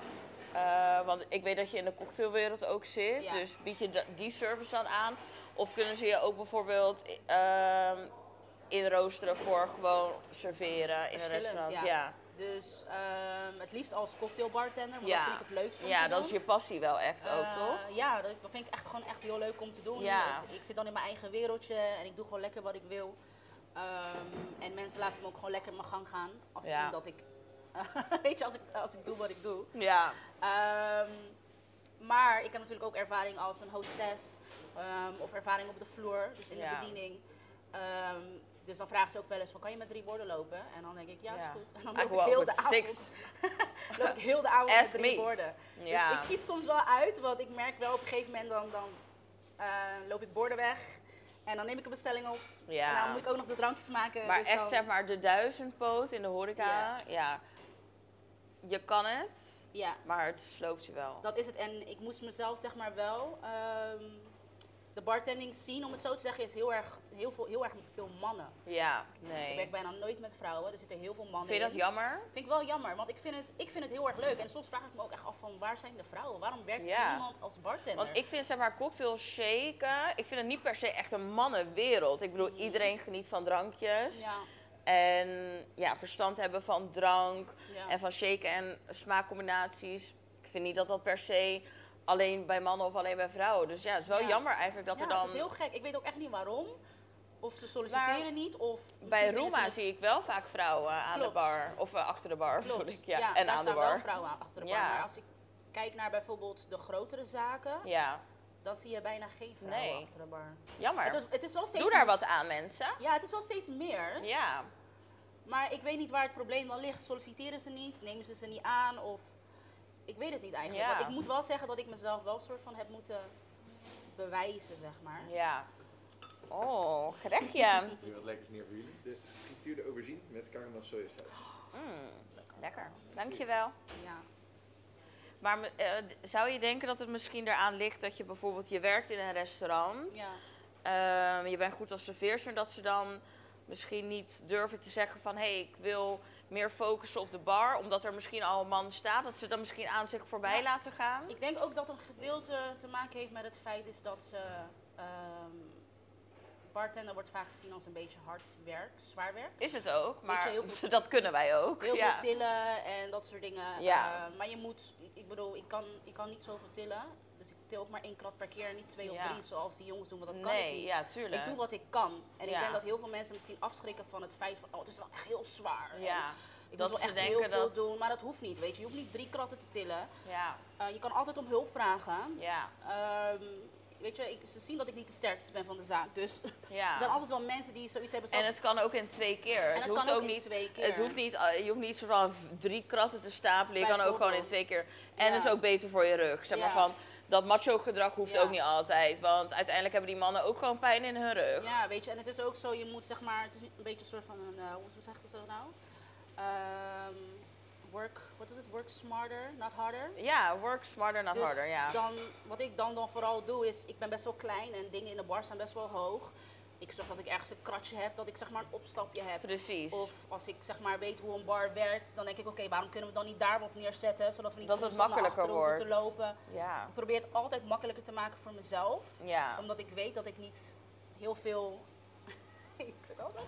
Speaker 2: eh, want ik weet dat je in de cocktailwereld ook zit,
Speaker 1: Ja.
Speaker 2: dus bied je da- die service dan aan? Of kunnen ze je ook bijvoorbeeld ehm inroosteren voor gewoon serveren in een
Speaker 1: Verschillend,
Speaker 2: restaurant?
Speaker 1: ja.
Speaker 2: ja.
Speaker 1: Dus ehm, het liefst als cocktailbartender, want
Speaker 2: Ja.
Speaker 1: dat vind ik het leukst om
Speaker 2: Ja,
Speaker 1: te doen.
Speaker 2: dat is je passie wel echt ook,
Speaker 1: Eh,
Speaker 2: toch?
Speaker 1: Ja, dat, dat vind ik echt gewoon echt heel leuk om te doen.
Speaker 2: Ja.
Speaker 1: Ik, ik zit dan in mijn eigen wereldje en ik doe gewoon lekker wat ik wil. Ehm, en mensen laten me ook gewoon lekker mijn gang gaan. Als ze
Speaker 2: Ja.
Speaker 1: zien dat ik... weet je, als ik, als ik doe wat ik doe.
Speaker 2: Ja.
Speaker 1: Ehm, maar ik heb natuurlijk ook ervaring als een hostess ehm, of ervaring op de vloer, dus in
Speaker 2: Ja.
Speaker 1: de bediening. Ehm, dus dan vragen ze ook wel eens van, kan je met drie borden lopen? En dan denk ik, ja, is
Speaker 2: Ja.
Speaker 1: goed. En dan
Speaker 2: I
Speaker 1: loop
Speaker 2: go
Speaker 1: ik
Speaker 2: out
Speaker 1: heel
Speaker 2: with
Speaker 1: de avond,
Speaker 2: six.
Speaker 1: loop ik heel de avond met
Speaker 2: Ask
Speaker 1: drie
Speaker 2: me.
Speaker 1: borden. Dus
Speaker 2: Ja.
Speaker 1: ik kies soms wel uit, want ik merk wel op een gegeven moment dan, dan eh, loop ik borden weg. En dan neem ik een bestelling op. En dan
Speaker 2: ja.
Speaker 1: moet ik ook nog de drankjes maken.
Speaker 2: Maar
Speaker 1: dus
Speaker 2: echt
Speaker 1: dan-
Speaker 2: zeg maar de duizendpoot in de horeca,
Speaker 1: Ja.
Speaker 2: ja. Je kan het,
Speaker 1: Ja,
Speaker 2: maar het sloopt je wel.
Speaker 1: dat is het. En ik moest mezelf zeg maar wel... ehm, de bartending scene, om het zo te zeggen, is heel erg, heel veel, heel erg veel mannen.
Speaker 2: Ja,
Speaker 1: Ik
Speaker 2: nee.
Speaker 1: werk bijna nooit met vrouwen. Er zitten heel veel mannen
Speaker 2: Vind je dat
Speaker 1: in.
Speaker 2: jammer?
Speaker 1: Vind ik wel jammer, want ik vind, het, ik vind het heel erg leuk. En soms vraag ik me ook echt af van waar zijn de vrouwen? Waarom werkt
Speaker 2: Ja.
Speaker 1: niemand als bartender?
Speaker 2: Want ik vind zeg maar cocktail shaken, ik vind het niet per se echt een mannenwereld. Ik bedoel, iedereen geniet van drankjes.
Speaker 1: Mm. Ja,
Speaker 2: En ja, verstand hebben van drank
Speaker 1: ja.
Speaker 2: en van shaken en smaakcombinaties. Ik vind niet dat dat per se alleen bij mannen of alleen bij vrouwen. Dus ja, het is wel
Speaker 1: Ja.
Speaker 2: jammer eigenlijk dat
Speaker 1: ja,
Speaker 2: er dan...
Speaker 1: het is heel gek. Ik weet ook echt niet waarom. Of ze solliciteren
Speaker 2: Maar
Speaker 1: niet, of...
Speaker 2: Bij
Speaker 1: misschien vinden
Speaker 2: Roma
Speaker 1: ze
Speaker 2: zie ik wel vaak vrouwen aan de
Speaker 1: Klopt.
Speaker 2: bar. Of eh, achter de bar,
Speaker 1: het-
Speaker 2: bedoel
Speaker 1: Klopt.
Speaker 2: ik. Ja, en
Speaker 1: daar
Speaker 2: aan de
Speaker 1: staan wel
Speaker 2: bar.
Speaker 1: vrouwen aan- achter de bar.
Speaker 2: Ja.
Speaker 1: Maar als ik kijk naar bijvoorbeeld de grotere zaken,
Speaker 2: Ja,
Speaker 1: dan zie je bijna geen vrouwen
Speaker 2: Nee.
Speaker 1: achter de bar. Het
Speaker 2: jammer.
Speaker 1: is, het is wel steeds
Speaker 2: Doe daar wat aan, mensen.
Speaker 1: Ja, het is wel steeds meer.
Speaker 2: Ja,
Speaker 1: Maar ik weet niet waar het probleem dan ligt. Solliciteren ze niet? Nemen ze ze niet aan? Of ik weet het niet eigenlijk.
Speaker 2: Ja.
Speaker 1: Want ik moet wel zeggen dat ik mezelf wel soort van heb moeten bewijzen, zeg maar.
Speaker 2: ja. Oh, gerechtje.
Speaker 3: Nu wat lekkers neer voor jullie. De frituurde aubergine met caramel sojasaus.
Speaker 2: Mm, lekker. Dankjewel.
Speaker 1: Ja.
Speaker 2: Maar me- eh, d- zou je denken dat het misschien eraan ligt dat je bijvoorbeeld je werkt in een restaurant,
Speaker 1: ja.
Speaker 2: ehm, je bent goed als serveerster, en dat ze dan misschien niet durven te zeggen van hé, hey, ik wil meer focussen op de bar, omdat er misschien al een man staat, dat ze dan misschien aan zich voorbij
Speaker 1: Ja.
Speaker 2: laten gaan?
Speaker 1: Ik denk ook dat een gedeelte te maken heeft met het feit is dat ze... ehm, bartender wordt vaak gezien als een beetje hard werk, zwaar werk.
Speaker 2: Is het ook, maar
Speaker 1: je, heel veel-
Speaker 2: dat kunnen wij ook.
Speaker 1: Heel
Speaker 2: ja.
Speaker 1: veel tillen en dat soort dingen.
Speaker 2: Ja.
Speaker 1: Eh, maar je moet, ik bedoel, ik kan, ik kan niet zoveel tillen. Dus ik til ook maar één krat per keer, niet twee
Speaker 2: Ja.
Speaker 1: of drie zoals die jongens doen, want dat kan ik
Speaker 2: nee,
Speaker 1: niet.
Speaker 2: ja, tuurlijk.
Speaker 1: Ik doe wat ik kan. En
Speaker 2: Ja.
Speaker 1: ik denk dat heel veel mensen misschien afschrikken van het feit van, oh, het is wel echt heel zwaar. En
Speaker 2: Ja,
Speaker 1: ik
Speaker 2: dat
Speaker 1: moet
Speaker 2: ze
Speaker 1: wel echt heel
Speaker 2: denken
Speaker 1: veel
Speaker 2: dat-
Speaker 1: doen, maar dat hoeft niet, weet je. Je hoeft niet drie kratten te tillen.
Speaker 2: ja,
Speaker 1: Eh, je kan altijd om hulp vragen.
Speaker 2: ja,
Speaker 1: Ehm, weet je, ik, ze zien dat ik niet de sterkste ben van de zaak, dus er zijn
Speaker 2: ja.
Speaker 1: altijd wel mensen die zoiets hebben.
Speaker 2: En
Speaker 1: zo-
Speaker 2: het kan ook in twee keer.
Speaker 1: en
Speaker 2: het hoeft
Speaker 1: kan
Speaker 2: ook
Speaker 1: in
Speaker 2: niet
Speaker 1: twee keer.
Speaker 2: Het hoeft niet, eh, je hoeft niet soort van v- drie kratten te stapelen. Je kan ook gewoon in
Speaker 1: Bijvoorbeeld.
Speaker 2: twee keer. En
Speaker 1: Ja.
Speaker 2: dat is ook beter voor je rug. Zeg maar
Speaker 1: Ja.
Speaker 2: van, dat macho gedrag hoeft
Speaker 1: Ja.
Speaker 2: ook niet altijd. Want uiteindelijk hebben die mannen ook gewoon pijn in hun rug.
Speaker 1: Ja, weet je, en het is ook zo, je moet zeg maar, het is een beetje een soort van een, eh, hoe zegt dat zo nou? Ehm, work, wat is het? Work smarter, not harder.
Speaker 2: Ja, work smarter, not
Speaker 1: Dus
Speaker 2: harder. Ja.
Speaker 1: dan, wat ik dan, dan vooral doe is, ik ben best wel klein en dingen in de bar staan best wel hoog. Ik zorg dat ik ergens een kratje heb, dat ik zeg maar een opstapje heb.
Speaker 2: Precies.
Speaker 1: Of als ik zeg maar weet hoe een bar werkt, dan denk ik oké, waarom kunnen we het dan niet daarop neerzetten, zodat we niet
Speaker 2: Dat het
Speaker 1: soms nog naar
Speaker 2: makkelijker
Speaker 1: achteren hoeven
Speaker 2: wordt.
Speaker 1: te lopen.
Speaker 2: ja.
Speaker 1: Ik probeer het altijd makkelijker te maken voor mezelf,
Speaker 2: Ja.
Speaker 1: omdat ik weet dat ik niet heel veel... ik zit altijd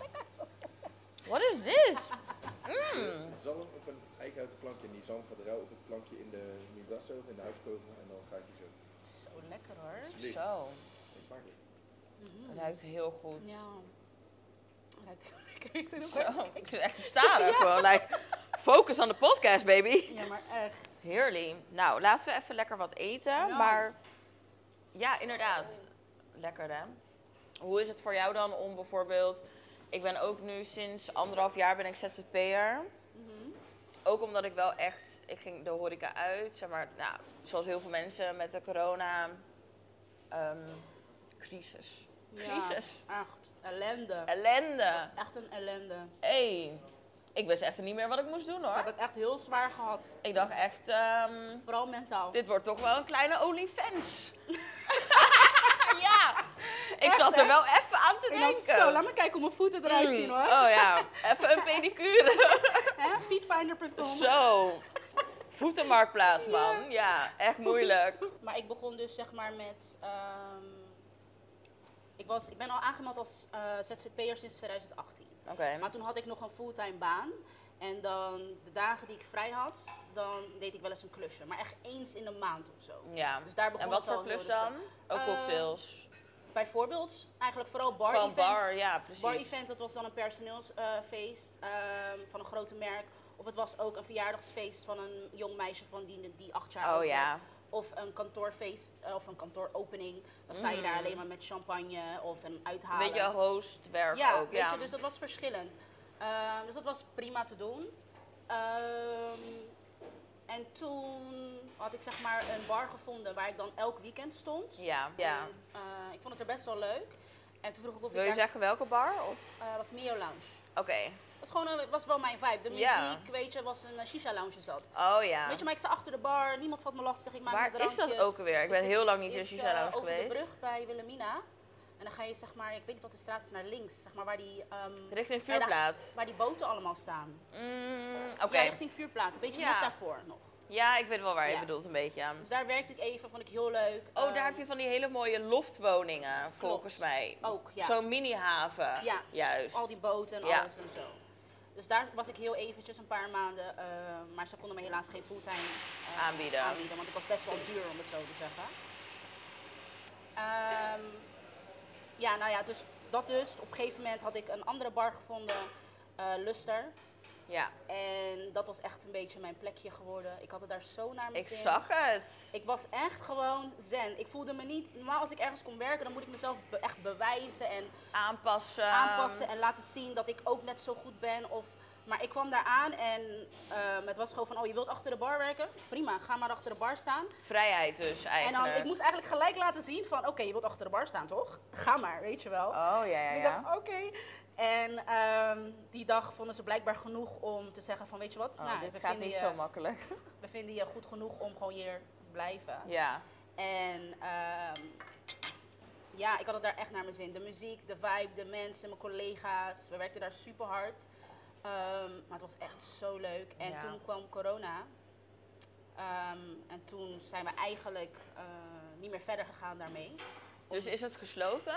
Speaker 2: What is this? Mm.
Speaker 3: Zalm op een eikenhouten plankje. En die zalm gaat rauw op het plankje in de Nibrasso, in de huiskoven. En dan ga ik die zo.
Speaker 1: Zo lekker hoor.
Speaker 3: Lief.
Speaker 2: Zo.
Speaker 3: Het smaakt lekker.
Speaker 2: Het ruikt heel goed.
Speaker 1: Ja. Ruikt heel lekker. Ik zit ook wel-
Speaker 2: Zo. Ik zit echt te staren. Gewoon, like, focus on the podcast, baby.
Speaker 1: Ja, maar echt.
Speaker 2: Heerlijk. Nou, laten we even lekker wat eten.
Speaker 1: Ja.
Speaker 2: Maar ja, inderdaad. Lekker hè. Hoe is het voor jou dan om bijvoorbeeld... Ik ben ook nu sinds anderhalf jaar ben ik ZZP'er.
Speaker 1: Eh, mm-hmm.
Speaker 2: Ook omdat ik wel echt... Ik ging de horeca uit. Zeg maar, nou, zoals heel veel mensen met de corona... ehm, crisis. Crisis.
Speaker 1: Echt. Ellende.
Speaker 2: Eh, Ellende.
Speaker 1: Echt een ellende.
Speaker 2: Hé. Ik wist even niet meer wat ik moest doen
Speaker 1: Ik heb
Speaker 2: hoor.
Speaker 1: het echt heel zwaar gehad.
Speaker 2: Ik dacht echt... ehm,
Speaker 1: Vooral mentaal.
Speaker 2: Dit wordt toch wel een kleine OnlyFans. ja, ik zat
Speaker 1: hè?
Speaker 2: er wel even aan te
Speaker 1: Ik dacht,
Speaker 2: denken.
Speaker 1: zo, laat me kijken hoe mijn voeten eruit
Speaker 2: Mm,
Speaker 1: zien hoor.
Speaker 2: Oh ja, even een pedicure.
Speaker 1: Hè? Feetfinder.com.
Speaker 2: zo, voetenmarktplaats man. Ja, echt moeilijk.
Speaker 1: Maar ik begon dus zeg maar met... ehm, ik, was, ik ben al aangemeld als eh, ZZP'er sinds 2018.
Speaker 2: Oké,
Speaker 1: Maar toen had ik nog een fulltime baan. En dan de dagen die ik vrij had, dan deed ik wel eens een klusje. Maar echt eens in de maand of zo.
Speaker 2: ja.
Speaker 1: Dus daar begon
Speaker 2: En wat
Speaker 1: het al
Speaker 2: voor klus
Speaker 1: heel rustig.
Speaker 2: dan? Ook
Speaker 1: Eh,
Speaker 2: cocktails.
Speaker 1: Bijvoorbeeld, eigenlijk vooral bar
Speaker 2: Van
Speaker 1: events.
Speaker 2: bar, ja precies.
Speaker 1: bar event, dat was dan een personeelsfeest ehm, van een grote merk. Of het was ook een verjaardagsfeest van een jong meisje van die, die acht jaar oud
Speaker 2: oh
Speaker 1: werd.
Speaker 2: ja,
Speaker 1: Of een kantoorfeest eh, of een kantooropening. Dan sta je daar alleen maar met champagne of een
Speaker 2: Mm. een
Speaker 1: uithalen.
Speaker 2: beetje hostwerk
Speaker 1: ja,
Speaker 2: ook.
Speaker 1: weet
Speaker 2: Ja,
Speaker 1: je, dus dat was verschillend. Ehm, dus dat was prima te doen. Ehm, en toen had ik zeg maar een bar gevonden waar ik dan elk weekend stond.
Speaker 2: ja. ja.
Speaker 1: En, eh, ik vond het er best wel leuk. En toen vroeg ik of
Speaker 2: Wil
Speaker 1: ik
Speaker 2: je
Speaker 1: daar...
Speaker 2: zeggen welke bar? Of?
Speaker 1: eh, was Mio Lounge.
Speaker 2: Oké,
Speaker 1: Dat was gewoon een- was wel mijn vibe. De muziek,
Speaker 2: Ja.
Speaker 1: weet je, was een eh, shisha lounge is dat.
Speaker 2: oh ja.
Speaker 1: Weet je, maar ik sta achter de bar, niemand valt me lastig. Ik maak mijn
Speaker 2: Waar is dat
Speaker 1: drankjes.
Speaker 2: ook alweer? Ik
Speaker 1: Is
Speaker 2: ben
Speaker 1: het-
Speaker 2: heel lang niet in
Speaker 1: is,
Speaker 2: Shisha
Speaker 1: eh,
Speaker 2: Lounge
Speaker 1: over
Speaker 2: geweest.
Speaker 1: de brug bij Willemina. En dan ga je zeg maar, ik weet niet wat de straat is, naar links. Zeg maar waar die, ehm,
Speaker 2: Richting
Speaker 1: bij de-
Speaker 2: vuurplaat.
Speaker 1: waar die boten allemaal staan.
Speaker 2: Mm, Oké.
Speaker 1: Ja, richting vuurplaat. Een beetje
Speaker 2: Ja.
Speaker 1: net daarvoor nog.
Speaker 2: Ja, ik weet wel waar je
Speaker 1: Ja.
Speaker 2: bedoelt een beetje.
Speaker 1: Dus daar werkte ik even, vond ik heel leuk.
Speaker 2: Oh,
Speaker 1: Ehm,
Speaker 2: daar heb je van die hele mooie loftwoningen, volgens mij.
Speaker 1: ook, ja.
Speaker 2: Zo'n mini-haven.
Speaker 1: Ja.
Speaker 2: Juist.
Speaker 1: Al die boten en
Speaker 2: Ja.
Speaker 1: alles en zo. Dus daar was ik heel eventjes een paar maanden. eh, maar ze konden me helaas geen fulltime eh,
Speaker 2: Aanbieden.
Speaker 1: aanbieden. Want ik was best wel duur, om het zo te zeggen. Ehm, ja, nou ja, dus dat dus. Op een gegeven moment had ik een andere bar gevonden, eh, Luster.
Speaker 2: Ja,
Speaker 1: En dat was echt een beetje mijn plekje geworden. Ik had het daar zo naar mijn
Speaker 2: ik
Speaker 1: zin.
Speaker 2: zag het.
Speaker 1: Ik was echt gewoon zen. Ik voelde me niet... Normaal als ik ergens kon werken, dan moet ik mezelf be- echt bewijzen en
Speaker 2: Aanpassen.
Speaker 1: aanpassen en laten zien dat ik ook net zo goed ben. Of Maar ik kwam daar aan en ehm, het was gewoon van, oh je wilt achter de bar werken? Prima, ga maar achter de bar staan.
Speaker 2: Vrijheid dus eigenlijk.
Speaker 1: En dan, ik moest eigenlijk gelijk laten zien van, oké je wilt achter de bar staan toch? Ga maar, weet je wel.
Speaker 2: Oh, ja, ja,
Speaker 1: Dus ik
Speaker 2: ja.
Speaker 1: dacht, oké. En ehm, die dag vonden ze blijkbaar genoeg om te zeggen van, weet je wat?
Speaker 2: Oh,
Speaker 1: nou,
Speaker 2: dit
Speaker 1: we
Speaker 2: gaat
Speaker 1: vinden
Speaker 2: niet
Speaker 1: je-
Speaker 2: zo makkelijk.
Speaker 1: We vinden je goed genoeg om gewoon hier te blijven.
Speaker 2: Ja.
Speaker 1: En ehm, ja, ik had het daar echt naar mijn zin. De muziek, de vibe, de mensen, mijn collega's. We werkten daar super hard. Ehm, maar het was echt zo leuk. En
Speaker 2: Ja.
Speaker 1: toen kwam corona. Ehm, en toen zijn we eigenlijk eh, niet meer verder gegaan daarmee.
Speaker 2: Dus is het gesloten?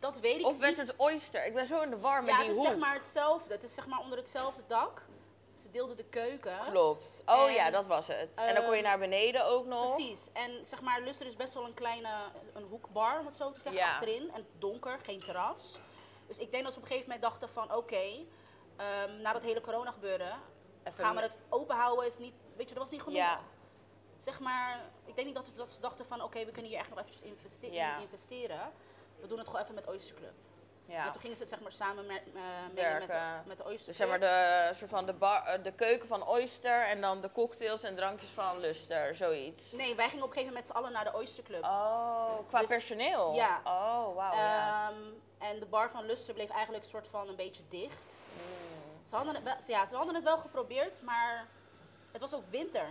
Speaker 1: Dat weet ik
Speaker 2: Of werd
Speaker 1: niet.
Speaker 2: het oyster? Ik ben zo in de war met
Speaker 1: ja,
Speaker 2: die
Speaker 1: het is
Speaker 2: hoe.
Speaker 1: zeg maar hetzelfde. Het is zeg maar onder hetzelfde dak. Ze deelden de keuken.
Speaker 2: Klopt. Oh
Speaker 1: En,
Speaker 2: ja, dat was het. en dan kon je
Speaker 1: ehm,
Speaker 2: naar beneden ook nog.
Speaker 1: Precies. En zeg maar, Luster is best wel een kleine een hoekbar, om het zo te zeggen,
Speaker 2: Ja.
Speaker 1: achterin. En donker, geen terras. Dus ik denk dat ze op een gegeven moment dachten van, oké, ehm, na dat hele corona gebeuren,
Speaker 2: Even-
Speaker 1: gaan we het open houden. Is niet, weet je, dat was niet genoeg.
Speaker 2: Ja.
Speaker 1: Zeg maar, ik denk niet dat, dat ze dachten van, oké, we kunnen hier echt nog eventjes investe-
Speaker 2: Ja.
Speaker 1: in investeren. We doen het gewoon even met Oyster Club.
Speaker 2: Ja.
Speaker 1: En toen gingen ze het zeg maar samen mer- eh, mengen met, de,
Speaker 2: Werken.
Speaker 1: met de Oyster
Speaker 2: Dus zeg maar
Speaker 1: Club.
Speaker 2: de, soort van de, bar, eh, de keuken van Oyster en dan de cocktails en drankjes van Luster, zoiets.
Speaker 1: Nee, wij gingen op een gegeven moment met z'n allen naar de Oyster Club.
Speaker 2: Oh, qua
Speaker 1: Dus-
Speaker 2: personeel?
Speaker 1: ja.
Speaker 2: Oh, wauw, ja.
Speaker 1: Ehm, en de bar van Luster bleef eigenlijk soort van een beetje dicht.
Speaker 2: Mm.
Speaker 1: Ze hadden, het wel, ja, ze hadden het wel geprobeerd, maar het was ook winter.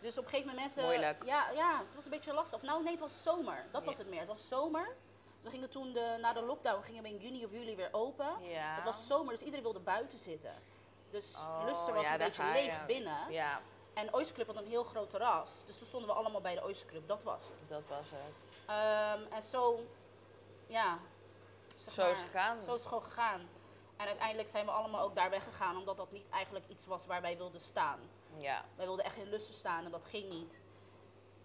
Speaker 1: Dus op een gegeven moment mensen...
Speaker 2: Moeilijk.
Speaker 1: Ja, ja, het was een beetje lastig. Of nou nee, het was zomer. Dat was het meer. Het was zomer. We gingen toen de, na de lockdown gingen we in juni of juli weer open.
Speaker 2: Mm. Ja.
Speaker 1: Het was zomer, dus iedereen wilde buiten zitten. Dus
Speaker 2: Oh,
Speaker 1: Luster was
Speaker 2: ja,
Speaker 1: een
Speaker 2: daar
Speaker 1: beetje
Speaker 2: ga
Speaker 1: leeg
Speaker 2: je.
Speaker 1: binnen.
Speaker 2: Ja,
Speaker 1: En Oyster Club had een heel groot terras. Dus toen stonden we allemaal bij de Oyster Club. Dat was het.
Speaker 2: dus dat was het.
Speaker 1: Ehm, en zo... Ja. zeg
Speaker 2: Zo is
Speaker 1: maar.
Speaker 2: het gegaan.
Speaker 1: Zo is het gewoon gegaan. En uiteindelijk zijn we allemaal ook daar weggegaan, omdat dat niet eigenlijk iets was waar wij wilden staan.
Speaker 2: Ja.
Speaker 1: Wij wilden echt in lussen staan en dat ging niet.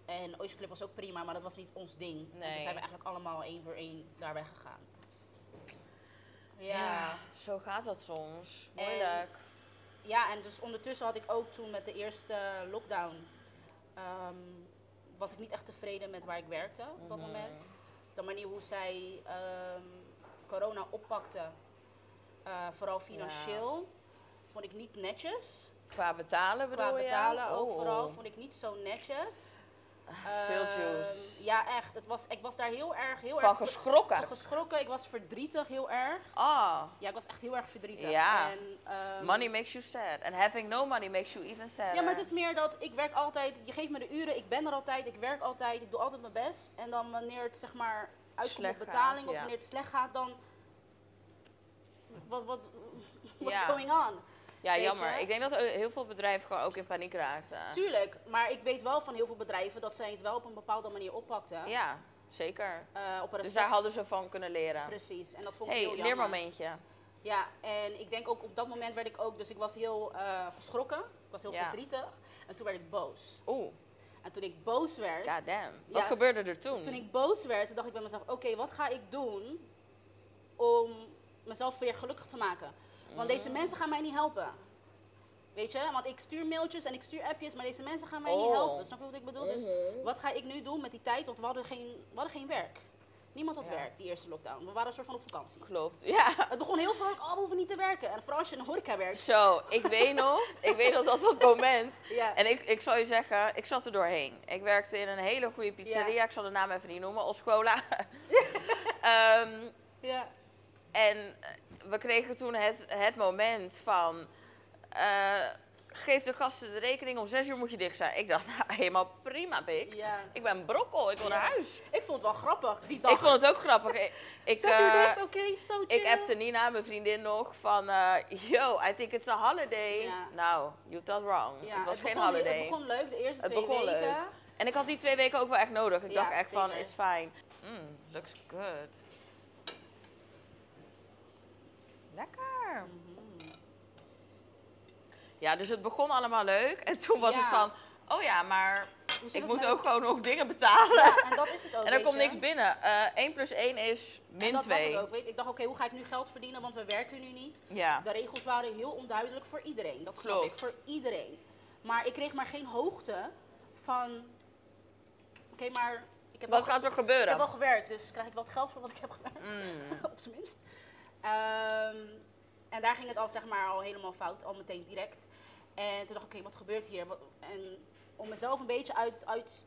Speaker 1: En Oyster Club was ook prima, maar dat was niet ons ding. En
Speaker 2: Nee.
Speaker 1: toen zijn we eigenlijk allemaal één voor één daar weggegaan.
Speaker 2: ja.
Speaker 1: Ja. ja.
Speaker 2: Zo gaat dat soms.
Speaker 1: En-
Speaker 2: Moeilijk.
Speaker 1: en dus ondertussen had ik ook toen met de eerste lockdown... ehm, was ik niet echt tevreden met waar ik werkte op dat
Speaker 2: Mhm.
Speaker 1: moment. De manier hoe zij ehm, corona oppakte, eh, vooral financieel, vond ik niet netjes.
Speaker 2: Qua betalen bedoel
Speaker 1: Qua
Speaker 2: je?
Speaker 1: betalen ook
Speaker 2: Oh. Ah,
Speaker 1: vooral, vond ik niet zo netjes.
Speaker 2: veel
Speaker 1: Ehm,
Speaker 2: juice.
Speaker 1: Ja, echt. Het was, ik was daar heel erg, heel
Speaker 2: Van
Speaker 1: erg be-
Speaker 2: geschrokken.
Speaker 1: van geschrokken. Ik was verdrietig heel erg.
Speaker 2: Ah,
Speaker 1: Ja, ik was echt heel erg verdrietig.
Speaker 2: Ja.
Speaker 1: En, ehm,
Speaker 2: money makes you sad. And having no money makes you even sadder.
Speaker 1: Ja, maar het is meer dat ik werk altijd, je geeft me de uren, ik ben er altijd, ik werk altijd, ik doe altijd mijn best. En dan wanneer het zeg maar uitkomt op
Speaker 2: Slecht
Speaker 1: betaling
Speaker 2: gaat,
Speaker 1: of
Speaker 2: ja.
Speaker 1: wanneer het slecht gaat, dan... Wat, wat, what's
Speaker 2: Ja.
Speaker 1: going on?
Speaker 2: Ja,
Speaker 1: Weet je?
Speaker 2: jammer. Ik denk dat eh, heel veel bedrijven gewoon ook in paniek raakten.
Speaker 1: Tuurlijk, maar ik weet wel van heel veel bedrijven dat zij het wel op een bepaalde manier oppakten.
Speaker 2: Ja, zeker.
Speaker 1: Eh, op een
Speaker 2: Dus
Speaker 1: respect.
Speaker 2: daar hadden ze van kunnen leren.
Speaker 1: Precies, en dat vond ik
Speaker 2: Hé, hey,
Speaker 1: heel jammer.
Speaker 2: leermomentje.
Speaker 1: Ja, en ik denk ook op dat moment werd ik ook, dus ik was heel eh, geschrokken, ik was heel
Speaker 2: Ja.
Speaker 1: verdrietig. En toen werd ik boos.
Speaker 2: Oeh,
Speaker 1: En toen ik boos werd,
Speaker 2: god damn. Wat
Speaker 1: Ja.
Speaker 2: gebeurde er toen?
Speaker 1: dus toen ik boos werd, toen dacht ik bij mezelf, oké, wat ga ik doen om mezelf weer gelukkig te maken? Want
Speaker 2: Mm.
Speaker 1: deze mensen gaan mij niet helpen. Weet je, want ik stuur mailtjes en ik stuur appjes, maar deze mensen gaan mij niet
Speaker 2: Oh. Mhm.
Speaker 1: helpen. Snap je wat ik bedoel? Dus
Speaker 2: Mm-hmm.
Speaker 1: wat ga ik nu doen met die tijd? Want we hadden geen, we hadden geen werk. Niemand had
Speaker 2: Ja.
Speaker 1: werk, die eerste lockdown. We waren een soort van op vakantie.
Speaker 2: Klopt. Ja.
Speaker 1: Het begon heel vrolijk, oh, we hoeven niet te werken. En vooral als je in de horeca werkt.
Speaker 2: Zo, ik weet nog, ik weet nog dat dat moment.
Speaker 1: Ja.
Speaker 2: En ik, ik zal je zeggen, ik zat er doorheen. Ik werkte in een hele goede pizzeria, ik zal de naam even niet noemen, Oscola. Ehm
Speaker 1: ja.
Speaker 2: En eh, we kregen toen het, het moment van. eh, geef de gasten de rekening, om zes uur moet je dicht zijn. Ik dacht, nou, helemaal prima, pik.
Speaker 1: ja.
Speaker 2: Ik ben brokkel, ik wil naar
Speaker 1: Ja.
Speaker 2: huis.
Speaker 1: Ik vond het wel grappig, die dag.
Speaker 2: Ik vond het ook grappig. Ik, ik,
Speaker 1: Zes uur
Speaker 2: eh,
Speaker 1: dicht, oké, zo chill.
Speaker 2: ik appte Nina, mijn vriendin, nog van... eh, Yo, I think it's a holiday.
Speaker 1: Ja.
Speaker 2: Nou, you thought wrong.
Speaker 1: Ja,
Speaker 2: het was geen
Speaker 1: begon-
Speaker 2: holiday.
Speaker 1: Het begon leuk, de eerste
Speaker 2: Het
Speaker 1: twee
Speaker 2: begon
Speaker 1: weken.
Speaker 2: leuk. En ik had die twee weken ook wel echt nodig. Ik
Speaker 1: Ja,
Speaker 2: dacht echt van,
Speaker 1: zeker.
Speaker 2: is fijn. Mm, looks good. Lekker. Mhm. Ja, dus het begon allemaal leuk. En toen was
Speaker 1: Ja.
Speaker 2: het van, oh ja, maar
Speaker 1: Hoe zit
Speaker 2: ik
Speaker 1: het
Speaker 2: moet
Speaker 1: met-
Speaker 2: ook gewoon nog dingen betalen.
Speaker 1: Ja, en dat is het ook,
Speaker 2: en er
Speaker 1: weet
Speaker 2: komt
Speaker 1: je.
Speaker 2: niks binnen. Eh 1 plus 1 is
Speaker 1: En
Speaker 2: min
Speaker 1: dat was
Speaker 2: 2.
Speaker 1: het ook, weet je. Ik dacht, oké, hoe ga ik nu geld verdienen, want we werken nu niet.
Speaker 2: Ja,
Speaker 1: De regels waren heel onduidelijk voor iedereen. Dat snap
Speaker 2: Ah. Klopt.
Speaker 1: ik, voor iedereen. Maar ik kreeg maar geen hoogte van... Oké, maar ik heb, wel,
Speaker 2: wat gaat er
Speaker 1: ik heb wel
Speaker 2: gebeuren?
Speaker 1: gewerkt, dus krijg ik wat geld voor wat ik heb gewerkt?
Speaker 2: Mm.
Speaker 1: op zijn minst. Ehm, En daar ging het al, zeg maar, al helemaal fout, al meteen direct. En toen dacht ik, oké, wat gebeurt hier? Wat- En om mezelf een beetje uit, uit,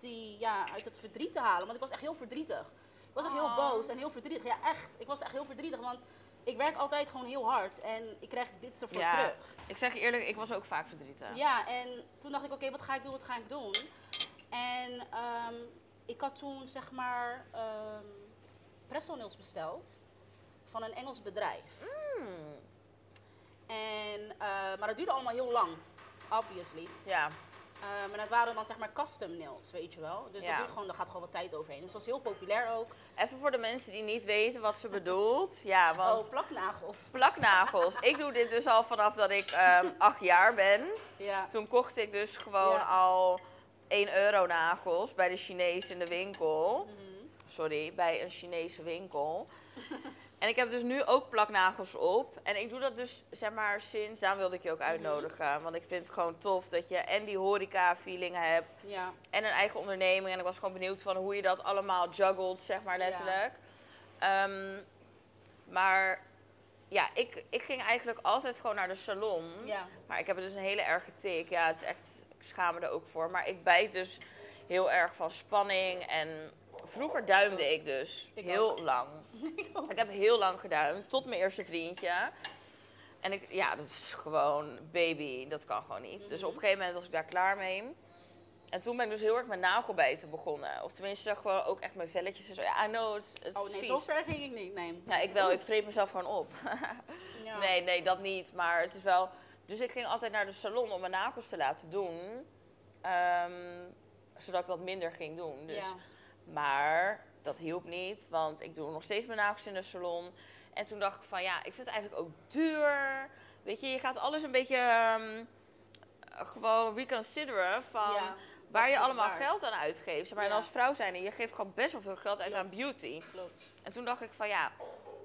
Speaker 1: die, ja, uit dat verdriet te halen, want ik was echt heel verdrietig. Ik was echt heel
Speaker 2: Oh.
Speaker 1: boos en heel verdrietig. Ja, echt. Ik was echt heel verdrietig, want ik werk altijd gewoon heel hard. En ik krijg dit ervoor
Speaker 2: Ja.
Speaker 1: terug.
Speaker 2: Ik zeg je eerlijk, ik was ook vaak verdrietig.
Speaker 1: Ja, en toen dacht ik, oké, wat ga ik doen, wat ga ik doen? En ehm, ik had toen, zeg maar, ehm pressonils besteld van een Engels bedrijf.
Speaker 2: Hmm.
Speaker 1: En, eh, maar dat duurde allemaal heel lang, obviously.
Speaker 2: Ja.
Speaker 1: Ehm en dat waren dan, zeg maar, custom nails, weet je wel. Dus
Speaker 2: Ja.
Speaker 1: dat duurt gewoon, daar gaat gewoon wat tijd overheen. Dus dat was heel populair ook.
Speaker 2: Even voor de mensen die niet weten wat ze bedoelt. Ja, want
Speaker 1: Oh, plaknagels.
Speaker 2: plaknagels. Ik doe dit dus al vanaf dat ik ehm, acht jaar ben.
Speaker 1: Ja.
Speaker 2: Toen kocht ik dus gewoon
Speaker 1: Ja.
Speaker 2: al 1 euro nagels bij de Chinees in de winkel.
Speaker 1: Mhm.
Speaker 2: Sorry, bij een Chinese winkel. en ik heb dus nu ook plaknagels op. En ik doe dat dus, zeg maar, sinds... Daar wilde ik je ook uitnodigen. Want ik vind het gewoon tof dat je en die horeca-feeling hebt...
Speaker 1: Ja.
Speaker 2: en een eigen onderneming. En ik was gewoon benieuwd van hoe je dat allemaal juggelt, zeg maar letterlijk. Ehm, maar ja, ik, ik ging eigenlijk altijd gewoon naar de salon.
Speaker 1: Ja.
Speaker 2: Maar ik heb dus een hele erge tik. Ja, het is echt, ik schaam me er ook voor. Maar ik bijt dus heel erg van spanning. En vroeger duimde ik dus
Speaker 1: Ik
Speaker 2: heel lang. Ik heb heel lang geduimd, tot mijn eerste vriendje. En ik, ja, dat is gewoon baby, dat kan gewoon niet. Dus
Speaker 1: Mhm.
Speaker 2: op een gegeven moment was ik daar klaar mee. En toen ben ik dus heel erg met nagelbijten begonnen. Of tenminste, gewoon ook echt mijn velletjes en zo. Ja, I know, het is, het is
Speaker 1: Oh nee,
Speaker 2: vies.
Speaker 1: zo ver ging ik niet, nee.
Speaker 2: Ja, ik wel, ik vreet mezelf gewoon op.
Speaker 1: Ja.
Speaker 2: Nee, nee, dat niet. Maar het is wel. Dus ik ging altijd naar de salon om mijn nagels te laten doen. ehm, zodat ik dat minder ging doen. Dus.
Speaker 1: Ja.
Speaker 2: Maar dat hielp niet, want ik doe nog steeds mijn nagels in de salon. En toen dacht ik van ja, ik vind het eigenlijk ook duur. Weet je, je gaat alles een beetje ehm, gewoon reconsideren van
Speaker 1: Ja,
Speaker 2: waar
Speaker 1: is
Speaker 2: je
Speaker 1: het
Speaker 2: allemaal
Speaker 1: waard?
Speaker 2: geld aan uitgeeft. Zeg maar en
Speaker 1: Ja.
Speaker 2: als vrouw zijn, en je geeft gewoon best wel veel geld uit aan beauty.
Speaker 1: Klopt.
Speaker 2: En toen dacht ik van ja,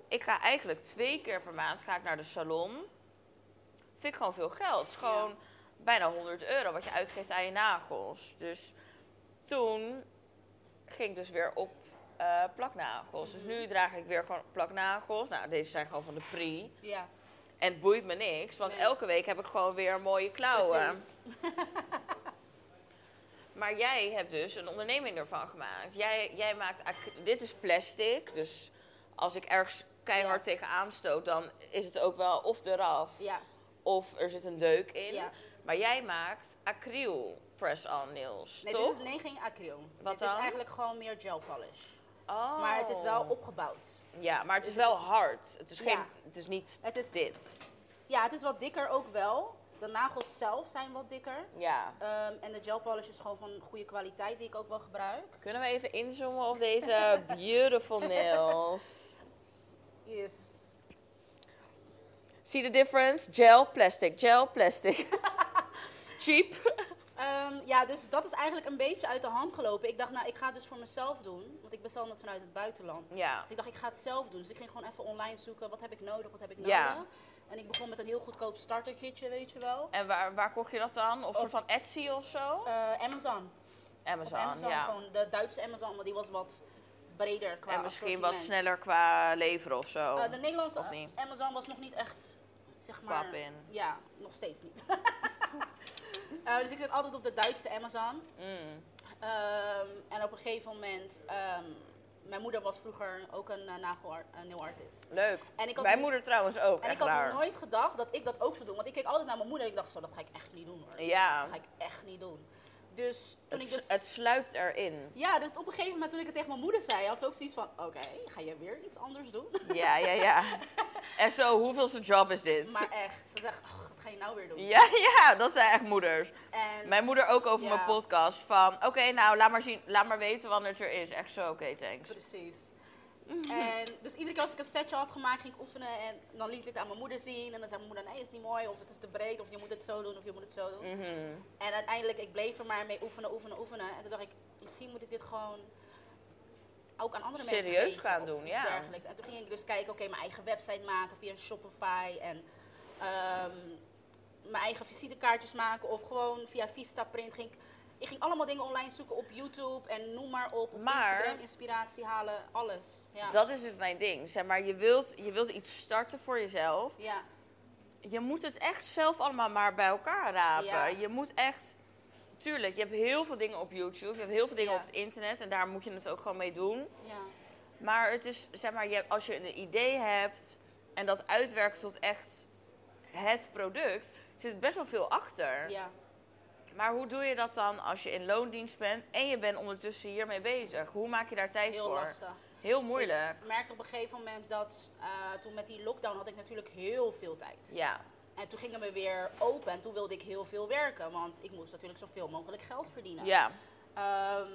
Speaker 2: ik ga eigenlijk twee keer per maand ga ik naar de salon. Vind ik gewoon veel geld. Het is gewoon bijna 100 euro wat je uitgeeft aan je nagels. Dus toen ging ik dus weer op eh, plaknagels.
Speaker 1: Mhm.
Speaker 2: Dus nu draag ik weer gewoon plaknagels. Nou, deze zijn gewoon van de Pri.
Speaker 1: Ja.
Speaker 2: En het boeit me niks, want
Speaker 1: Nee.
Speaker 2: elke week heb ik gewoon weer mooie klauwen.
Speaker 1: precies.
Speaker 2: Maar jij hebt dus een onderneming ervan gemaakt. Jij, jij maakt, ac- dit is plastic, dus als ik ergens keihard tegenaan stoot, dan is het ook wel of eraf,
Speaker 1: Ja.
Speaker 2: of er zit een deuk in.
Speaker 1: Ja.
Speaker 2: Maar jij maakt acryl press-on nails,
Speaker 1: Nee,
Speaker 2: toch?
Speaker 1: dit is nee, geen acryl.
Speaker 2: Wat
Speaker 1: dit
Speaker 2: dan?
Speaker 1: is eigenlijk gewoon meer gel polish.
Speaker 2: Oh.
Speaker 1: Maar het is wel opgebouwd.
Speaker 2: Ja, maar het is wel hard. Het is,
Speaker 1: Ja.
Speaker 2: geen, het is niet
Speaker 1: Het is-
Speaker 2: dit.
Speaker 1: Ja, het is wat dikker ook wel. De nagels zelf zijn wat dikker.
Speaker 2: Ja.
Speaker 1: Ehm, en de gel polish is gewoon van goede kwaliteit die ik ook wel gebruik.
Speaker 2: Kunnen we even inzoomen op deze beautiful nails?
Speaker 1: Yes.
Speaker 2: See the difference? Gel, plastic, gel, plastic. Cheap.
Speaker 1: Ehm, ja, dus dat is eigenlijk een beetje uit de hand gelopen. Ik dacht, nou, ik ga het dus voor mezelf doen. Want ik bestel het vanuit het buitenland.
Speaker 2: Ja.
Speaker 1: Dus ik dacht, ik ga het zelf doen. Dus ik ging gewoon even online zoeken. Wat heb ik nodig? Wat heb ik nodig?
Speaker 2: Ja.
Speaker 1: En ik begon met een heel goedkoop starterkitje, weet je wel.
Speaker 2: En waar, waar kocht je dat dan? Of
Speaker 1: Op-
Speaker 2: soort van Etsy of zo?
Speaker 1: Eh, Amazon.
Speaker 2: Amazon,
Speaker 1: Op Amazon,
Speaker 2: ja.
Speaker 1: gewoon de Duitse Amazon, maar die was wat breder qua
Speaker 2: en misschien wat
Speaker 1: assortiment.
Speaker 2: sneller qua leveren of zo.
Speaker 1: Eh, de Nederlandse
Speaker 2: Of niet?
Speaker 1: Amazon was nog niet echt, zeg maar...
Speaker 2: Pap in.
Speaker 1: Ja, nog steeds niet. Eh, dus ik zit altijd op de Duitse Amazon.
Speaker 2: Mm.
Speaker 1: Ehm, en op een gegeven moment... ehm, mijn moeder was vroeger ook een eh, nagel- een nagelartist.
Speaker 2: Leuk.
Speaker 1: En ik had
Speaker 2: Mijn
Speaker 1: nog-
Speaker 2: moeder trouwens ook,
Speaker 1: En
Speaker 2: echt
Speaker 1: ik had
Speaker 2: waar.
Speaker 1: nog nooit gedacht dat ik dat ook zou doen. Want ik keek altijd naar mijn moeder en ik dacht zo, dat ga ik echt niet doen hoor.
Speaker 2: Ja,
Speaker 1: Dat ga ik echt niet doen. Dus toen
Speaker 2: het,
Speaker 1: ik dus...
Speaker 2: het sluipt erin.
Speaker 1: Ja, dus op een gegeven moment toen ik het tegen mijn moeder zei, had ze ook zoiets van, oké, ga je weer iets anders doen?
Speaker 2: Ja, ja, ja. en zo, hoeveelste job is dit?
Speaker 1: Maar echt, ze zegt, "Ach, wat ga je nou weer doen?
Speaker 2: Ja, ja, dat zijn echt moeders.
Speaker 1: En
Speaker 2: Mijn moeder ook over
Speaker 1: Ja.
Speaker 2: mijn podcast van, oké, nou, laat maar, zien, laat maar weten wanneer het er is. Echt zo, oké, thanks.
Speaker 1: precies.
Speaker 2: Mhm.
Speaker 1: En dus iedere keer als ik een setje had gemaakt, ging ik oefenen en dan liet ik het aan mijn moeder zien. En dan zei mijn moeder, nee, is niet mooi, of het is te breed, of je moet het zo doen, of je moet het zo doen.
Speaker 2: Mhm.
Speaker 1: En uiteindelijk, ik bleef er maar mee oefenen, oefenen, oefenen. En toen dacht ik, misschien moet ik dit gewoon ook aan andere mensen
Speaker 2: Serieus
Speaker 1: geven,
Speaker 2: gaan
Speaker 1: of
Speaker 2: doen,
Speaker 1: iets
Speaker 2: ja.
Speaker 1: dergelijks. En toen ging ik dus kijken, oké, mijn eigen website maken via Shopify en ehm, mijn eigen visitekaartjes maken of gewoon via Vistaprint ging ik Ik ging allemaal dingen online zoeken op YouTube en noem maar op. Op
Speaker 2: Maar-
Speaker 1: Instagram, inspiratie halen, alles. Ja.
Speaker 2: Dat is dus mijn ding. Zeg maar, je wilt, je wilt iets starten voor jezelf.
Speaker 1: ja.
Speaker 2: Je moet het echt zelf allemaal maar bij elkaar rapen.
Speaker 1: Ja.
Speaker 2: Je moet echt... Tuurlijk, je hebt heel veel dingen op YouTube. Je hebt heel veel dingen
Speaker 1: Ja.
Speaker 2: op het internet. En daar moet je het ook gewoon mee doen.
Speaker 1: ja.
Speaker 2: Maar het is, zeg maar, je, als je een idee hebt en dat uitwerkt tot echt het product, zit best wel veel achter.
Speaker 1: Ja,
Speaker 2: Maar hoe doe je dat dan als je in loondienst bent en je bent ondertussen hiermee bezig? Hoe maak je daar tijd
Speaker 1: heel
Speaker 2: voor?
Speaker 1: lastig.
Speaker 2: Heel moeilijk.
Speaker 1: Ik merkte op een gegeven moment dat eh, toen met die lockdown had ik natuurlijk heel veel tijd.
Speaker 2: Ja,
Speaker 1: En toen gingen we weer open en toen wilde ik heel veel werken, want ik moest natuurlijk zoveel mogelijk geld verdienen.
Speaker 2: ja,
Speaker 1: Ehm,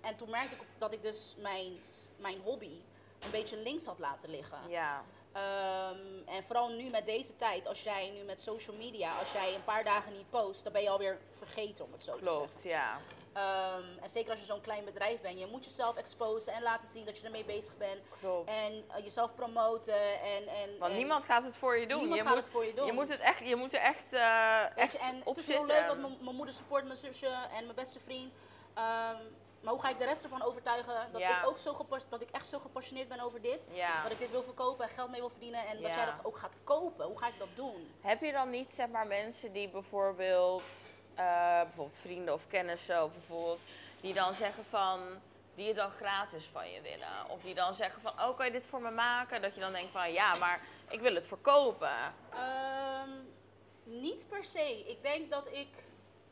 Speaker 1: en toen merkte ik op- dat ik dus mijn, mijn hobby een beetje links had laten liggen.
Speaker 2: ja.
Speaker 1: Ehm, en vooral nu met deze tijd, als jij nu met social media, als jij een paar dagen niet post, dan ben je alweer vergeten om het zo te zeggen.
Speaker 2: Klopt, ja.
Speaker 1: Ehm, en zeker als je zo'n klein bedrijf bent, je moet jezelf exposen en laten zien dat je ermee bezig bent.
Speaker 2: Klopt.
Speaker 1: En eh, jezelf promoten en... en
Speaker 2: Want
Speaker 1: en
Speaker 2: niemand gaat het voor je doen.
Speaker 1: niemand
Speaker 2: je
Speaker 1: gaat
Speaker 2: moet,
Speaker 1: het voor je doen.
Speaker 2: Je moet, het echt, je moet er echt, eh,
Speaker 1: Weet je,
Speaker 2: echt
Speaker 1: en
Speaker 2: op
Speaker 1: het is heel
Speaker 2: zitten.
Speaker 1: leuk dat mijn- mijn moeder support mijn zusje en mijn beste vriend. Ehm, maar hoe ga ik de rest ervan overtuigen dat
Speaker 2: Ja.
Speaker 1: ik ook zo gepas- dat ik echt zo gepassioneerd ben over dit?
Speaker 2: Ja.
Speaker 1: Dat ik dit wil verkopen en geld mee wil verdienen en
Speaker 2: Ja.
Speaker 1: dat jij dat ook gaat kopen. Hoe ga ik dat doen?
Speaker 2: Heb je dan niet zeg maar mensen die bijvoorbeeld, eh, bijvoorbeeld vrienden of kennissen of bijvoorbeeld, die dan zeggen van, die het dan gratis van je willen? Of die dan zeggen van, oh kan je dit voor me maken? Dat je dan denkt van, ja maar ik wil het verkopen.
Speaker 1: Ehm, niet per se. Ik denk dat ik.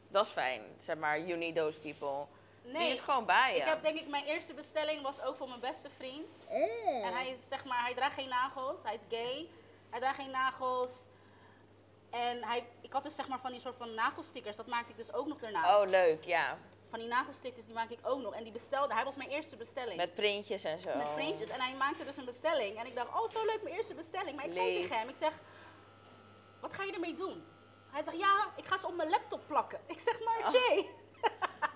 Speaker 2: Dat is fijn, zeg maar, you need those people.
Speaker 1: Nee,
Speaker 2: die is gewoon bij je.
Speaker 1: ik heb denk ik mijn eerste bestelling was ook voor mijn beste vriend.
Speaker 2: Mm.
Speaker 1: En hij is, zeg maar, hij draagt geen nagels. Hij is gay. Hij draagt geen nagels. En hij, ik had dus zeg maar van die soort van nagelstickers. Dat maakte ik dus ook nog daarnaast.
Speaker 2: Oh leuk, ja.
Speaker 1: Van die nagelstickers die maak ik ook nog. En die bestelde, hij was mijn eerste bestelling.
Speaker 2: Met Oh. printjes en zo.
Speaker 1: Met printjes. En hij maakte dus een bestelling. En ik dacht, oh zo leuk, mijn eerste bestelling. Maar ik zei
Speaker 2: Lief.
Speaker 1: tegen hem, ik zeg, wat ga je ermee doen? Hij zegt, ja, ik ga ze op mijn laptop plakken. Ik zeg, maar
Speaker 2: Oh,
Speaker 1: Jay,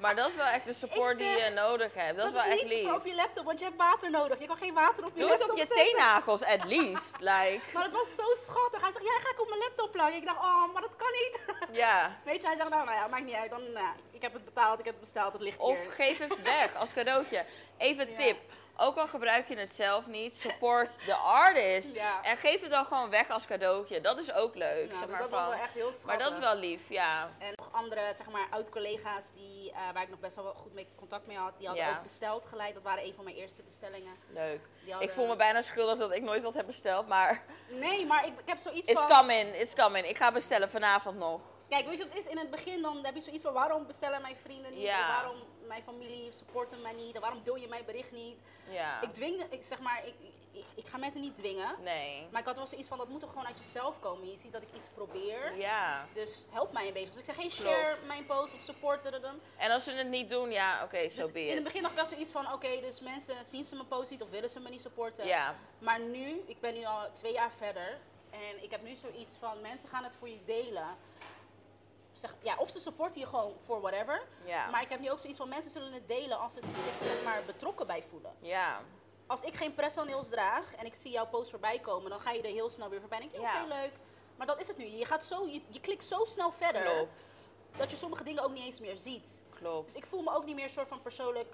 Speaker 2: Maar dat is wel echt de support
Speaker 1: Ik zeg,
Speaker 2: die je nodig hebt. Dat,
Speaker 1: dat,
Speaker 2: is wel
Speaker 1: is
Speaker 2: echt
Speaker 1: niet
Speaker 2: lief.
Speaker 1: voor op je laptop, want je hebt water nodig. Je kan geen water op je
Speaker 2: Doe het
Speaker 1: laptop
Speaker 2: op je
Speaker 1: zetten.
Speaker 2: teennagels, at least. Like,
Speaker 1: Maar het was zo schattig. Hij zegt, ja, ga ik op mijn laptop plakken. Ik dacht, oh, maar dat kan niet.
Speaker 2: ja.
Speaker 1: Weet je, hij zegt, nou, nou ja, maakt niet uit. Dan, nou ja, ik heb het betaald, ik heb het besteld, het ligt
Speaker 2: Of
Speaker 1: hier.
Speaker 2: geef het weg als cadeautje. Even
Speaker 1: Ja.
Speaker 2: tip. Ook al gebruik je het zelf niet, support the artist.
Speaker 1: Ja.
Speaker 2: En geef het dan gewoon weg als cadeautje. Dat is ook leuk.
Speaker 1: Nou, dus
Speaker 2: zeg maar,
Speaker 1: dat was
Speaker 2: van-
Speaker 1: wel echt heel schattig.
Speaker 2: maar dat is wel lief, ja.
Speaker 1: En nog andere, zeg maar, oud-collega's die, eh, waar ik nog best wel goed mee contact mee had, die hadden
Speaker 2: Ja.
Speaker 1: ook besteld gelijk. Dat waren een van mijn eerste bestellingen.
Speaker 2: Leuk.
Speaker 1: Die hadden-
Speaker 2: Ik voel me bijna schuldig dat ik nooit wat heb besteld, maar
Speaker 1: Nee, maar ik, ik heb zoiets
Speaker 2: it's
Speaker 1: van...
Speaker 2: coming, it's coming. Ik ga bestellen vanavond nog.
Speaker 1: Kijk, weet je wat het is? In het begin dan heb je zoiets van, waarom bestellen mijn vrienden niet?
Speaker 2: Ja.
Speaker 1: En Waarom mijn familie supporten mij niet? En waarom deel je mijn bericht niet?
Speaker 2: Ja.
Speaker 1: Ik dwing, ik zeg maar, ik, ik, ik ga mensen niet dwingen.
Speaker 2: Nee.
Speaker 1: Maar ik had wel zoiets van, dat moet toch gewoon uit jezelf komen. Je ziet dat ik iets probeer.
Speaker 2: Ja.
Speaker 1: Dus help mij een beetje. Dus ik zeg, hey, share
Speaker 2: Klopt.
Speaker 1: mijn post of support. dadadam.
Speaker 2: En als ze het niet doen, ja, oké, zo
Speaker 1: Dus
Speaker 2: be
Speaker 1: in het
Speaker 2: it.
Speaker 1: begin dacht ik wel zoiets van, oké, dus mensen zien ze mijn post niet of willen ze me niet supporten.
Speaker 2: Ja.
Speaker 1: Maar nu, ik ben nu al twee jaar verder en ik heb nu zoiets van, mensen gaan het voor je delen. Zeg, ja, of ze supporten je gewoon voor whatever.
Speaker 2: Ja.
Speaker 1: Maar ik heb nu ook zoiets van, mensen zullen het delen als ze zich zeg maar, betrokken bij voelen.
Speaker 2: Ja.
Speaker 1: Als ik geen personeels draag en ik zie jouw post voorbij komen, dan ga je er heel snel weer voorbij en denk je,
Speaker 2: Ja.
Speaker 1: oké, leuk. Maar dat is het nu. Je, gaat zo, je, je klikt zo snel verder
Speaker 2: Klopt.
Speaker 1: dat je sommige dingen ook niet eens meer ziet.
Speaker 2: Klopt.
Speaker 1: Dus ik voel me ook niet meer soort van persoonlijk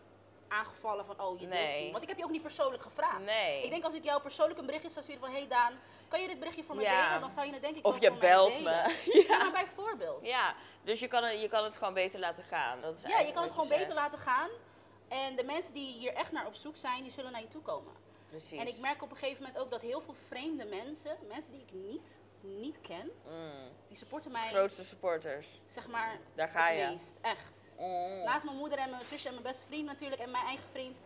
Speaker 1: aangevallen van oh je
Speaker 2: Nee.
Speaker 1: deelt niet. Want ik heb je ook niet persoonlijk gevraagd.
Speaker 2: Nee.
Speaker 1: Ik denk als ik jou persoonlijk een berichtje zou sturen van hey Daan, kan je dit berichtje voor me
Speaker 2: Ja.
Speaker 1: delen? Dan zou je het denk ik
Speaker 2: Of
Speaker 1: wel
Speaker 2: je
Speaker 1: voor mij
Speaker 2: belt
Speaker 1: delen.
Speaker 2: me.
Speaker 1: Ja, maar bijvoorbeeld. Ja,
Speaker 2: Ja, dus je kan, het- je kan het gewoon beter laten gaan. Dat is
Speaker 1: je
Speaker 2: eigenlijk
Speaker 1: kan het
Speaker 2: wat
Speaker 1: gewoon
Speaker 2: je
Speaker 1: beter
Speaker 2: zegt.
Speaker 1: laten gaan. En de mensen die hier echt naar op zoek zijn, die zullen naar je toe komen.
Speaker 2: Precies.
Speaker 1: En ik merk op een gegeven moment ook dat heel veel vreemde mensen, mensen die ik niet, niet ken,
Speaker 2: Mm,
Speaker 1: die supporten mij,
Speaker 2: grootste supporters.
Speaker 1: zeg maar,
Speaker 2: Daar ga
Speaker 1: het
Speaker 2: je.
Speaker 1: meest. Echt.
Speaker 2: Mm,
Speaker 1: Naast mijn moeder en mijn zusje en mijn beste vriend natuurlijk en mijn eigen vriend.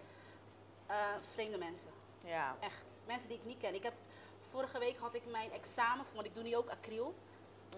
Speaker 1: eh, vreemde mensen,
Speaker 2: Ja.
Speaker 1: echt. Mensen die ik niet ken. Ik heb, vorige week had ik mijn examen, want ik doe nu ook acryl.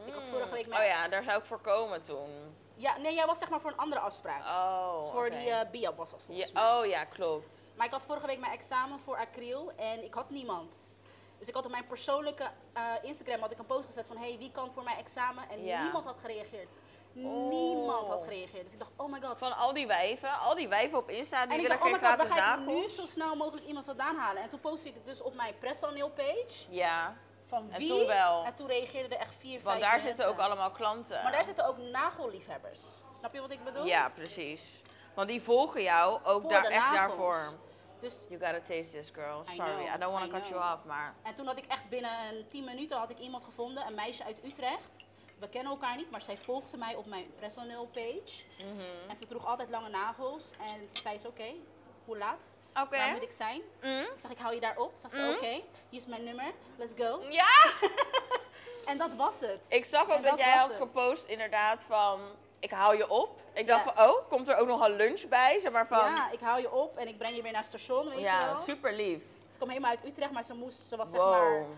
Speaker 1: Ik had vorige week mijn...
Speaker 2: Oh ja, daar zou ik voor komen toen.
Speaker 1: Ja, nee, jij was zeg maar voor een andere afspraak.
Speaker 2: Oh,
Speaker 1: voor
Speaker 2: oké.
Speaker 1: die eh BIAB was dat volgens mij.
Speaker 2: ja, Oh ja, klopt.
Speaker 1: Maar ik had vorige week mijn examen voor acryl en ik had niemand. Dus ik had op mijn persoonlijke eh, Instagram had ik een post gezet van hey, wie kan voor mijn examen? En
Speaker 2: Ja.
Speaker 1: niemand had gereageerd.
Speaker 2: Oh.
Speaker 1: Niemand had gereageerd. Dus ik dacht, oh my god.
Speaker 2: Van al die wijven, al die wijven op Insta, die
Speaker 1: en ik
Speaker 2: willen
Speaker 1: dacht, oh
Speaker 2: geen
Speaker 1: my god,
Speaker 2: gratis
Speaker 1: waar ga ik
Speaker 2: nagels.
Speaker 1: nu zo snel mogelijk iemand vandaan halen? En toen postte ik het dus op mijn press on Nail page.
Speaker 2: Ja,
Speaker 1: van
Speaker 2: En
Speaker 1: wie.
Speaker 2: toen wel.
Speaker 1: En toen reageerden er echt vier,
Speaker 2: Want
Speaker 1: vijf
Speaker 2: daar
Speaker 1: mensen.
Speaker 2: zitten ook allemaal klanten.
Speaker 1: Maar daar zitten ook nagelliefhebbers. Snap je wat ik bedoel?
Speaker 2: Ja, precies. Want die volgen jou ook
Speaker 1: Voor
Speaker 2: daar,
Speaker 1: de
Speaker 2: echt
Speaker 1: nagels.
Speaker 2: daarvoor.
Speaker 1: Dus,
Speaker 2: You gotta taste this, girl.
Speaker 1: I
Speaker 2: Sorry,
Speaker 1: know,
Speaker 2: I, don't want
Speaker 1: I
Speaker 2: to cut
Speaker 1: know.
Speaker 2: you off, maar...
Speaker 1: en toen had ik echt binnen een tien minuten had ik iemand gevonden, een meisje uit Utrecht. We kennen elkaar niet, maar zij volgde mij op mijn personal page.
Speaker 2: Mhm.
Speaker 1: En ze droeg altijd lange nagels. En toen zei ze, oké, hoe laat?
Speaker 2: Oké. Mhm.
Speaker 1: Waar moet ik zijn?
Speaker 2: Mm.
Speaker 1: Ik zeg, ik hou je daarop. Zegt ze, oké, hier is mijn nummer. Let's go.
Speaker 2: Mm? Ja! Mhm.
Speaker 1: En dat was het.
Speaker 2: Ik zag
Speaker 1: En
Speaker 2: ook dat
Speaker 1: dat
Speaker 2: jij
Speaker 1: was
Speaker 2: had
Speaker 1: het.
Speaker 2: gepost inderdaad van... Ik hou je op. Ik dacht
Speaker 1: Ja.
Speaker 2: van, oh, komt er ook nog een lunch bij? Zeg maar van...
Speaker 1: Ja, ik hou je op en ik breng je weer naar het station, weet je
Speaker 2: Ja,
Speaker 1: wel.
Speaker 2: super lief.
Speaker 1: Ze kwam helemaal uit Utrecht, maar ze moest, ze was, zeg maar,
Speaker 2: Wow.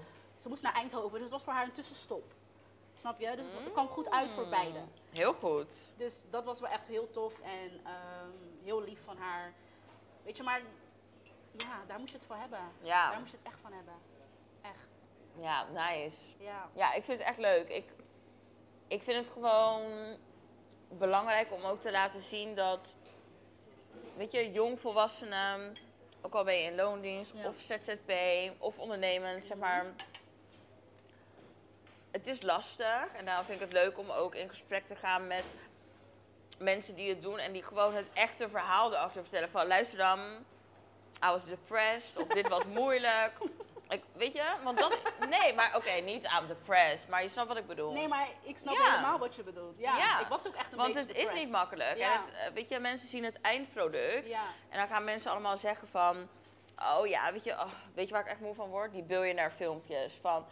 Speaker 1: ze moest naar Eindhoven. Dus het was voor haar een tussenstop. Snap je? Dus het
Speaker 2: Mhm.
Speaker 1: kwam goed uit
Speaker 2: Hmm.
Speaker 1: voor beiden.
Speaker 2: Heel goed.
Speaker 1: Dus dat was wel echt heel tof en ehm, heel lief van haar. Weet je, maar ja, daar moet je het voor hebben.
Speaker 2: Ja.
Speaker 1: Daar moet je het echt van hebben. Echt,
Speaker 2: Ja, nice.
Speaker 1: ja.
Speaker 2: Ja, ik vind het echt leuk. Ik, ik vind het gewoon belangrijk om ook te laten zien dat, weet je, jongvolwassenen, ook al ben je in loondienst
Speaker 1: Ja.
Speaker 2: of ZZP of ondernemend, zeg maar. Het is lastig en daarom vind ik het leuk om ook in gesprek te gaan met mensen die het doen en die gewoon het echte verhaal erachter vertellen. Van luister dan, I was depressed of dit was moeilijk. Ik, weet je, want dat. Nee, maar oké, niet I'm depressed, maar je snapt wat ik bedoel.
Speaker 1: Nee, maar ik snap
Speaker 2: Ja.
Speaker 1: helemaal wat je bedoelt. Ja,
Speaker 2: Ja.
Speaker 1: ik was ook echt een
Speaker 2: Want
Speaker 1: beetje
Speaker 2: het is niet
Speaker 1: depressed.
Speaker 2: makkelijk.
Speaker 1: Ja.
Speaker 2: En het, eh, weet je, mensen zien het eindproduct.
Speaker 1: Ja.
Speaker 2: En dan gaan mensen allemaal zeggen van... Oh ja, weet je, oh, weet je waar ik echt moe van word? Die billionaire filmpjes. Van,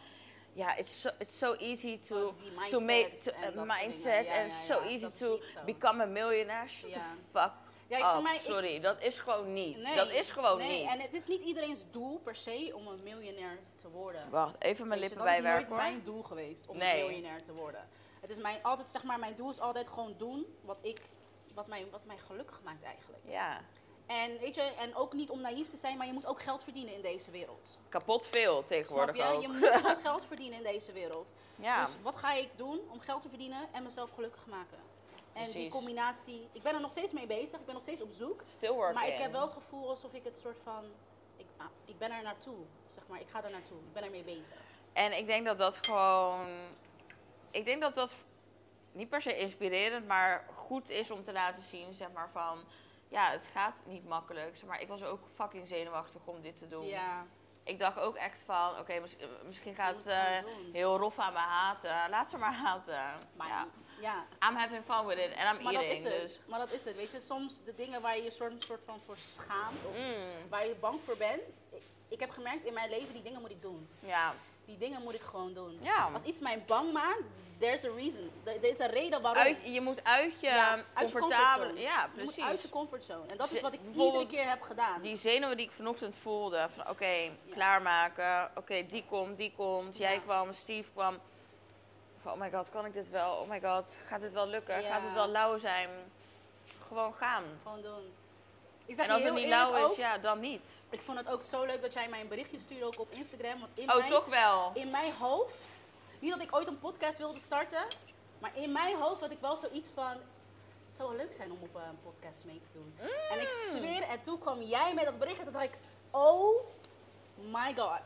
Speaker 2: ja, it's so, it's so easy to...
Speaker 1: Oh, die
Speaker 2: to make
Speaker 1: mindsets
Speaker 2: to, eh,
Speaker 1: en dat soort
Speaker 2: mindset.
Speaker 1: dingen. Ja,
Speaker 2: and
Speaker 1: ja,
Speaker 2: so
Speaker 1: ja,
Speaker 2: easy
Speaker 1: dat is
Speaker 2: to
Speaker 1: niet zo.
Speaker 2: become a millionaire. Shut
Speaker 1: Ja.
Speaker 2: the fuck
Speaker 1: Ja, ik-
Speaker 2: up.
Speaker 1: voor mij- ik-
Speaker 2: Oh, Sorry, dat is gewoon niet.
Speaker 1: Nee,
Speaker 2: dat is gewoon
Speaker 1: nee,
Speaker 2: niet.
Speaker 1: En het is niet iedereen's doel per se om een miljonair te worden.
Speaker 2: Wacht, even mijn
Speaker 1: Weet je,
Speaker 2: lippen
Speaker 1: dat is nooit
Speaker 2: bijwerken hoor.
Speaker 1: mijn doel geweest om
Speaker 2: Nee.
Speaker 1: een miljonair te worden. Het is mijn, altijd, zeg maar, mijn doel is altijd gewoon doen wat, ik, wat, mij, wat mij gelukkig maakt eigenlijk.
Speaker 2: Ja,
Speaker 1: En, weet je, en ook niet om naïef te zijn, maar je moet ook geld verdienen in deze wereld.
Speaker 2: kapot veel
Speaker 1: Snap
Speaker 2: tegenwoordig
Speaker 1: je?
Speaker 2: ook.
Speaker 1: Je moet ook geld verdienen in deze wereld.
Speaker 2: ja.
Speaker 1: Dus wat ga ik doen om geld te verdienen en mezelf gelukkig maken? En die
Speaker 2: Precies.
Speaker 1: combinatie, ik ben er nog steeds mee bezig, ik ben nog steeds op zoek.
Speaker 2: Still working.
Speaker 1: Maar ik heb wel het gevoel alsof ik het soort van, ik, ah, ik ben er naartoe, zeg maar. Ik ga er naartoe, ik ben ermee bezig.
Speaker 2: En ik denk dat dat gewoon. Ik denk dat dat niet per se inspirerend, maar goed is om te laten zien, zeg maar van. Ja, het gaat niet makkelijk. Zeg maar ik was ook fucking zenuwachtig om dit te doen.
Speaker 1: Ja,
Speaker 2: Ik dacht ook echt van, oké, mis- eh, misschien gaat
Speaker 1: moet
Speaker 2: het
Speaker 1: het gewoon
Speaker 2: eh,
Speaker 1: doen.
Speaker 2: heel rof aan me haten. Laat ze maar haten.
Speaker 1: maar
Speaker 2: ja.
Speaker 1: ja.
Speaker 2: I'm having fun with it and I'm
Speaker 1: Maar dat is
Speaker 2: eating.
Speaker 1: het.
Speaker 2: Dus.
Speaker 1: Maar dat is het. Weet je, soms de dingen waar je je soort, soort van voor schaamt of
Speaker 2: Mm,
Speaker 1: waar je bang voor bent. Ik, ik heb gemerkt in mijn leven, die dingen moet ik doen.
Speaker 2: ja.
Speaker 1: Die dingen moet ik gewoon doen.
Speaker 2: Ja.
Speaker 1: Als iets mij bang maakt, there's a reason. Er er is een reden waarom.
Speaker 2: Uit, je moet uit je
Speaker 1: Ja, uit je
Speaker 2: comfortabele.
Speaker 1: comfortzone.
Speaker 2: ja,
Speaker 1: Je
Speaker 2: precies.
Speaker 1: moet uit je comfortzone. En dat is
Speaker 2: Ze-
Speaker 1: wat ik iedere
Speaker 2: bijvoorbeeld
Speaker 1: keer heb gedaan.
Speaker 2: Die zenuwen die ik vanochtend voelde, van oké, klaarmaken, oké, die komt, die komt, jij
Speaker 1: Ja.
Speaker 2: kwam, Steve kwam. Van, oh my god, kan ik dit wel? Oh my god, gaat dit wel lukken?
Speaker 1: Ja.
Speaker 2: Gaat het wel lauw zijn? Gewoon gaan.
Speaker 1: Gewoon doen. Ik zeg
Speaker 2: En
Speaker 1: je
Speaker 2: als
Speaker 1: heel
Speaker 2: het niet
Speaker 1: eerlijk
Speaker 2: lauw is,
Speaker 1: ook,
Speaker 2: ja, dan niet.
Speaker 1: Ik vond het ook zo leuk dat jij mij een berichtje stuurde ook op Instagram. Want in
Speaker 2: Oh,
Speaker 1: mijn,
Speaker 2: toch wel.
Speaker 1: in mijn hoofd, niet dat ik ooit een podcast wilde starten, maar in mijn hoofd had ik wel zoiets van, het zou wel leuk zijn om op eh, een podcast mee te doen. En ik
Speaker 2: Mm.
Speaker 1: zweer, en toen kwam jij met dat bericht en toen dacht ik, oh my god.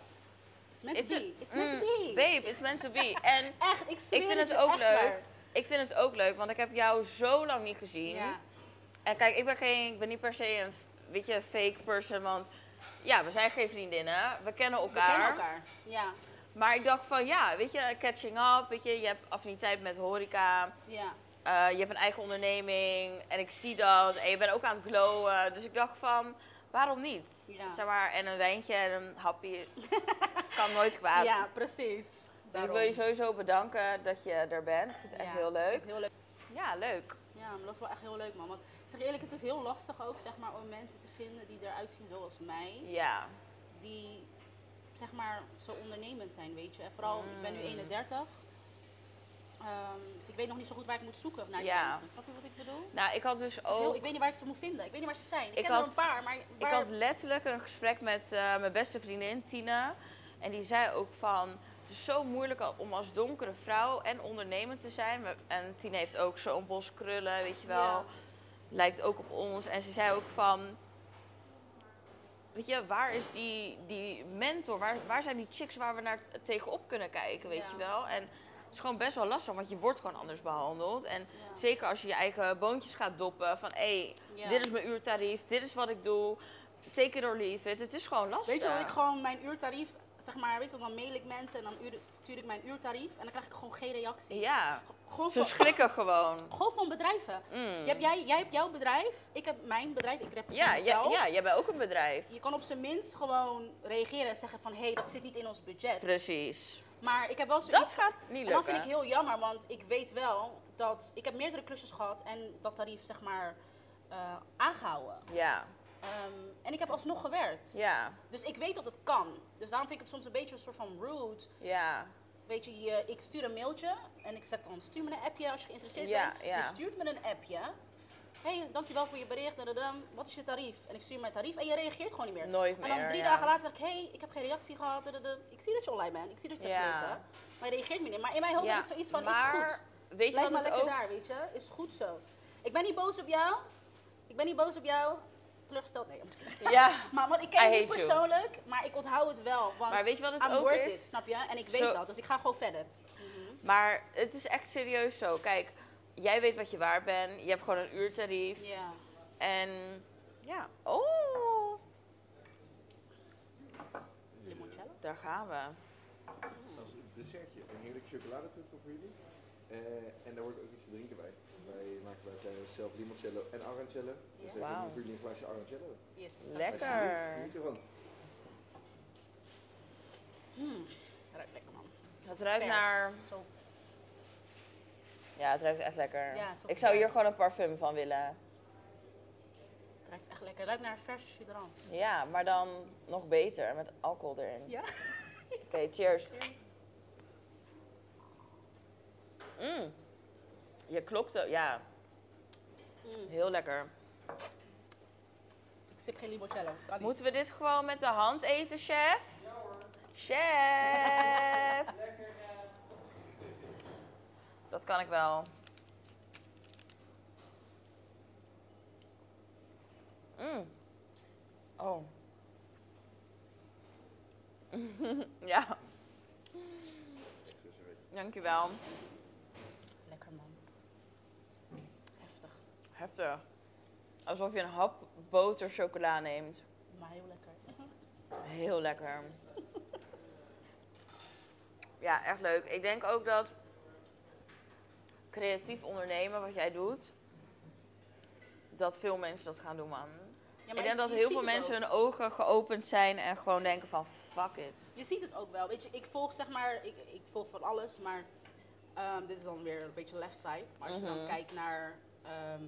Speaker 1: It's meant
Speaker 2: It's
Speaker 1: to
Speaker 2: a-
Speaker 1: be. It's meant
Speaker 2: mm,
Speaker 1: to be.
Speaker 2: Babe, it's meant to be. En
Speaker 1: Echt, ik zweer
Speaker 2: ik
Speaker 1: het
Speaker 2: vind het
Speaker 1: je,
Speaker 2: ook
Speaker 1: echt
Speaker 2: leuk.
Speaker 1: waar.
Speaker 2: Ik vind het ook leuk, want ik heb jou zo lang niet gezien.
Speaker 1: Ja,
Speaker 2: En kijk, ik ben, geen, ik ben niet per se een weet je, fake person, want ja, we zijn geen vriendinnen. We kennen
Speaker 1: we kennen elkaar. Ja,
Speaker 2: Maar ik dacht van ja, weet je, catching up, weet je, je hebt affiniteit met horeca,
Speaker 1: ja.
Speaker 2: eh, je hebt een eigen onderneming en ik zie dat en je bent ook aan het glowen. Dus ik dacht van, waarom niet?
Speaker 1: Ja.
Speaker 2: Zeg maar, en een wijntje en een hapje kan nooit kwaad.
Speaker 1: ja, precies.
Speaker 2: dus ik
Speaker 1: Daarom.
Speaker 2: wil je sowieso bedanken dat je er bent. Ik vind het echt
Speaker 1: Ja,
Speaker 2: heel
Speaker 1: ik vind
Speaker 2: leuk.
Speaker 1: het Heel leuk.
Speaker 2: Ja, leuk.
Speaker 1: Ja, maar dat is wel echt heel leuk, man. Want ik zeg je eerlijk, het is heel lastig ook, zeg maar, om mensen te vinden die eruit zien zoals mij.
Speaker 2: Ja,
Speaker 1: Die, zeg maar, zo ondernemend zijn, weet je. En vooral, ik
Speaker 2: Mm.
Speaker 1: ben nu 31. Ehm, dus ik weet nog niet zo goed waar ik moet zoeken naar die
Speaker 2: Ja.
Speaker 1: mensen. Snap je wat ik bedoel?
Speaker 2: nou ik had dus
Speaker 1: Het is heel-
Speaker 2: ook...
Speaker 1: ik weet niet waar ik ze moet vinden. Ik weet niet waar ze zijn. Ik,
Speaker 2: Ik
Speaker 1: ken
Speaker 2: had-
Speaker 1: er een paar, maar
Speaker 2: Ik
Speaker 1: waar-
Speaker 2: had letterlijk een gesprek met eh, mijn beste vriendin Tina. En die zei ook van, het is zo moeilijk al- om als donkere vrouw en ondernemer te zijn. We- En Tina heeft ook zo'n bos krullen, weet je wel.
Speaker 1: Ja.
Speaker 2: Lijkt ook op ons. En ze zei ook van, Weet je, waar is die, die mentor? Waar, waar zijn die chicks waar we naar t- tegenop kunnen kijken, weet
Speaker 1: Ja.
Speaker 2: je wel? En het is gewoon best wel lastig, want je wordt gewoon anders behandeld. En
Speaker 1: Ja.
Speaker 2: zeker als je je eigen boontjes gaat doppen van... hé, hey,
Speaker 1: Ja.
Speaker 2: dit is mijn uurtarief, dit is wat ik doe. Take it or leave it. Het is gewoon lastig.
Speaker 1: Weet je wat ik gewoon mijn uurtarief, zeg maar, weet je, wel, dan mail ik mensen en dan uur- stuur ik mijn uurtarief en dan krijg ik gewoon geen reactie.
Speaker 2: Ja,
Speaker 1: Gewoon,
Speaker 2: ze
Speaker 1: van,
Speaker 2: schrikken gewoon.
Speaker 1: gewoon van bedrijven.
Speaker 2: Mm.
Speaker 1: Je hebt, jij, jij hebt jouw bedrijf, ik heb mijn bedrijf, ik representeer
Speaker 2: ja, ja,
Speaker 1: mezelf.
Speaker 2: ja, jij bent ook een bedrijf.
Speaker 1: Je kan op zijn minst gewoon reageren en zeggen van, hé, hey, dat zit niet in ons budget.
Speaker 2: Precies.
Speaker 1: Maar ik heb wel zoiets...
Speaker 2: Dat gaat niet
Speaker 1: en dat
Speaker 2: lukken.
Speaker 1: vind ik heel jammer, want ik weet wel dat... Ik heb meerdere klusjes gehad en dat tarief, zeg maar, eh, aangehouden.
Speaker 2: Ja,
Speaker 1: Ehm, en ik heb alsnog gewerkt.
Speaker 2: ja,
Speaker 1: Dus ik weet dat het kan. Dus daarom vind ik het soms een beetje een soort van rude.
Speaker 2: ja.
Speaker 1: Weet je, je- ik stuur een mailtje en ik zet dan stuur me een appje als je geïnteresseerd
Speaker 2: Ja,
Speaker 1: bent.
Speaker 2: ja.
Speaker 1: Je stuurt me een appje. Hé, hey, dankjewel voor je bericht. dadadam. Wat is je tarief? En ik stuur mijn tarief en je reageert gewoon niet meer.
Speaker 2: Nooit meer.
Speaker 1: en dan drie
Speaker 2: ja.
Speaker 1: dagen later zeg ik, hé, hey, ik heb geen reactie gehad. dadadam. Ik zie dat je online bent. Ik zie dat je hebt
Speaker 2: Ja.
Speaker 1: gelezen. Maar je reageert me niet. Maar in mijn hoofd heb ik zoiets van, is goed.
Speaker 2: maar weet je
Speaker 1: Blijf
Speaker 2: wat
Speaker 1: maar
Speaker 2: het
Speaker 1: lekker
Speaker 2: ook...
Speaker 1: daar, weet je. Is goed zo. Ik ben niet boos op jou. Ik ben niet boos op jou. Teleurgesteld, nee.
Speaker 2: Ja,
Speaker 1: Maar want ik
Speaker 2: I
Speaker 1: ken het niet
Speaker 2: hate you.
Speaker 1: persoonlijk, maar ik onthoud het wel. Want
Speaker 2: Maar weet je wat het
Speaker 1: I'm
Speaker 2: ook
Speaker 1: worth
Speaker 2: is?
Speaker 1: it, snap je? En ik weet
Speaker 2: Zo-
Speaker 1: dat, dus ik ga gewoon verder.
Speaker 2: maar het is echt serieus zo. Kijk, jij weet wat je waar bent. Je hebt gewoon een uurtarief.
Speaker 1: Ja.
Speaker 2: En ja, oh,
Speaker 1: Limoncello?
Speaker 2: daar gaan we. Hmm.
Speaker 3: Als dessertje, een heerlijk chocoladetrufel voor jullie. Eh, en daar wordt ook iets te drinken bij. Wij maken bij thuis zelf limoncello en arancello. Dus
Speaker 1: Ja.
Speaker 3: even
Speaker 2: Wauw.
Speaker 3: voor jullie een glaasje arancello.
Speaker 1: Yes.
Speaker 2: Lekker.
Speaker 3: Alsjeblieft, geniet ervan.
Speaker 1: Mm. Ruikt lekker man.
Speaker 2: Het ruikt
Speaker 1: Vers.
Speaker 2: naar...
Speaker 1: Zo.
Speaker 2: Ja, het ruikt echt lekker.
Speaker 1: Ja, het is ook
Speaker 2: ik zou hier
Speaker 1: vers.
Speaker 2: gewoon een parfum van willen.
Speaker 1: Ruikt echt lekker. Ruikt naar verse sudrans.
Speaker 2: Ja, maar dan nog beter, met alcohol erin.
Speaker 1: Ja.
Speaker 2: Oké, cheers. Mm. Je klopt ook, ja,
Speaker 1: Mm.
Speaker 2: heel lekker.
Speaker 1: Ik sip geen limoncello. Kan niet.
Speaker 2: Moeten we dit gewoon met de hand eten, chef? Chef! Dat kan ik wel. Mm. Oh. ja,
Speaker 3: Echt, dus, weet je.
Speaker 2: dankjewel.
Speaker 1: Lekker man. Heftig.
Speaker 2: Heftig. Alsof je een hap boter chocola neemt.
Speaker 1: Maar heel lekker.
Speaker 2: Heel lekker. Ja, echt leuk. Ik denk ook dat creatief ondernemen, wat jij doet, dat veel mensen dat gaan doen, man.
Speaker 1: Ja,
Speaker 2: ik denk dat
Speaker 1: je
Speaker 2: heel
Speaker 1: ziet
Speaker 2: veel
Speaker 1: het
Speaker 2: mensen
Speaker 1: ook.
Speaker 2: hun ogen geopend zijn en gewoon denken van, fuck it.
Speaker 1: Je ziet het ook wel. Weet je, ik volg zeg maar, ik, ik volg van alles, maar ehm, dit is dan weer een beetje left side. Maar als je
Speaker 2: Mhm.
Speaker 1: dan kijkt naar ehm,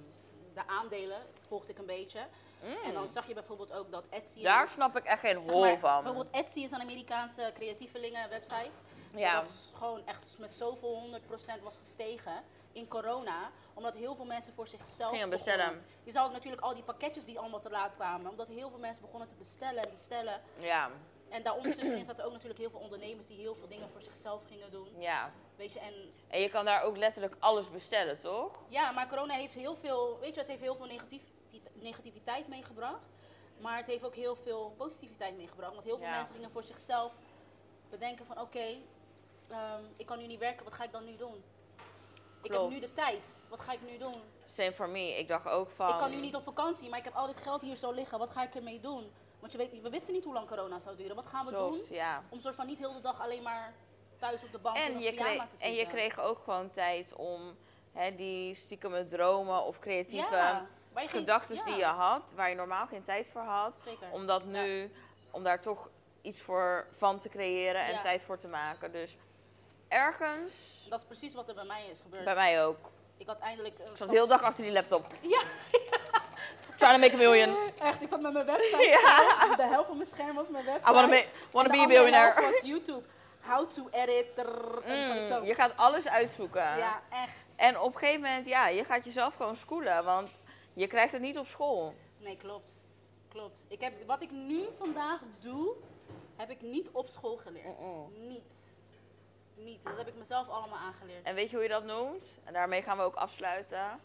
Speaker 1: de aandelen, volgde ik een beetje.
Speaker 2: Mm.
Speaker 1: En dan zag je bijvoorbeeld ook dat Etsy.
Speaker 2: Daar snap ik echt geen
Speaker 1: zeg
Speaker 2: rol
Speaker 1: maar,
Speaker 2: van.
Speaker 1: Bijvoorbeeld Etsy is een Amerikaanse creatievelingen website.
Speaker 2: Ja.
Speaker 1: Dat is gewoon echt met zoveel 100% was gestegen in corona. Omdat heel veel mensen voor zichzelf
Speaker 2: Gingen
Speaker 1: begonnen.
Speaker 2: bestellen.
Speaker 1: Je zag ook natuurlijk al die pakketjes die allemaal te laat kwamen. Omdat heel veel mensen begonnen te bestellen en bestellen.
Speaker 2: Ja,
Speaker 1: En daar ondertussenin zaten ook natuurlijk heel veel ondernemers die heel veel dingen voor zichzelf gingen doen.
Speaker 2: ja.
Speaker 1: Weet je, en
Speaker 2: En je kan daar ook letterlijk alles bestellen, toch?
Speaker 1: ja, maar corona heeft heel veel, weet je, het heeft heel veel negatief, die- negativiteit meegebracht. Maar het heeft ook heel veel positiviteit meegebracht. Want heel veel
Speaker 2: Ja.
Speaker 1: mensen gingen voor zichzelf bedenken van oké, ehm, ik kan nu niet werken, wat ga ik dan nu doen? Ik heb
Speaker 2: Klopt.
Speaker 1: nu de tijd, wat ga ik nu doen?
Speaker 2: Same for me. Ik dacht ook van...
Speaker 1: Ik kan nu niet op vakantie, maar ik heb al dit geld hier zo liggen, wat ga ik ermee doen? Want je weet, we wisten niet hoe lang corona zou duren, wat gaan we doen?
Speaker 2: Klopt, ja.
Speaker 1: om soort van niet heel de dag alleen maar thuis op de bank in
Speaker 2: En
Speaker 1: ons
Speaker 2: je,
Speaker 1: pyjama
Speaker 2: kreeg,
Speaker 1: te zitten.
Speaker 2: en je kreeg ook gewoon tijd om hè, die stiekeme dromen of creatieve
Speaker 1: ja, waar je geen-
Speaker 2: gedachten
Speaker 1: ja,
Speaker 2: die je had, waar je normaal geen tijd voor had,
Speaker 1: Zeker.
Speaker 2: om dat nu, om daar toch iets voor van te creëren en
Speaker 1: Ja.
Speaker 2: tijd voor te maken. Dus ergens,
Speaker 1: Dat is precies wat er bij mij is gebeurd.
Speaker 2: bij mij ook.
Speaker 1: Ik had eindelijk... een
Speaker 2: Ik zat
Speaker 1: stap-
Speaker 2: de hele dag achter die laptop.
Speaker 1: Ja.
Speaker 2: Trying to make a million.
Speaker 1: Echt, ik zat met mijn website.
Speaker 2: Ja.
Speaker 1: De helft van mijn scherm was mijn website.
Speaker 2: I wanna, be- wanna
Speaker 1: En de
Speaker 2: be
Speaker 1: andere
Speaker 2: a billionaire.
Speaker 1: helft was YouTube. How to edit. trrr, en dan zat ik zo.
Speaker 2: Mm, je gaat alles uitzoeken.
Speaker 1: Ja, echt.
Speaker 2: En op een gegeven moment, ja, je gaat jezelf gewoon schoolen, want je krijgt het niet op school.
Speaker 1: Nee, klopt. Klopt. Ik heb, wat ik nu vandaag doe, heb ik niet op school geleerd.
Speaker 2: Mm-mm.
Speaker 1: Niet. Niet. Dat heb ik mezelf allemaal aangeleerd.
Speaker 2: En weet je hoe je dat noemt? En daarmee gaan we ook afsluiten.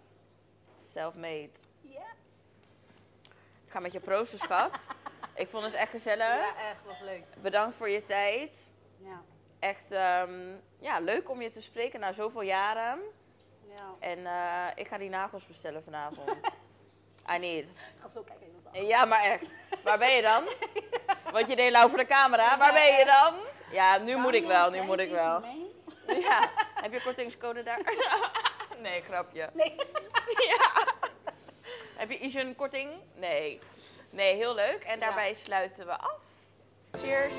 Speaker 2: Self-made.
Speaker 1: Ja.
Speaker 2: Ik ga met je proosten, schat. Ik vond het echt gezellig.
Speaker 1: Ja, echt, was leuk.
Speaker 2: Bedankt voor je tijd.
Speaker 1: Ja.
Speaker 2: Echt ehm, ja, leuk om je te spreken na zoveel jaren.
Speaker 1: ja.
Speaker 2: En eh, ik ga die nagels bestellen vanavond. I need.
Speaker 1: Ik ga zo kijken. iemand anders.
Speaker 2: Ja, maar echt. Waar ben je dan? Want je deed lauw voor de camera. Waar ben je dan? Ja, nu moet ik wel, nu
Speaker 1: Daniel
Speaker 2: moet ik
Speaker 1: zei
Speaker 2: wel.
Speaker 1: tegen mij-
Speaker 2: Ja. Heb je kortingscode daar? Nee, grapje.
Speaker 1: Nee.
Speaker 2: Ja. Heb je iets een korting? Nee. Nee, heel leuk. En daarbij sluiten we af. Cheers.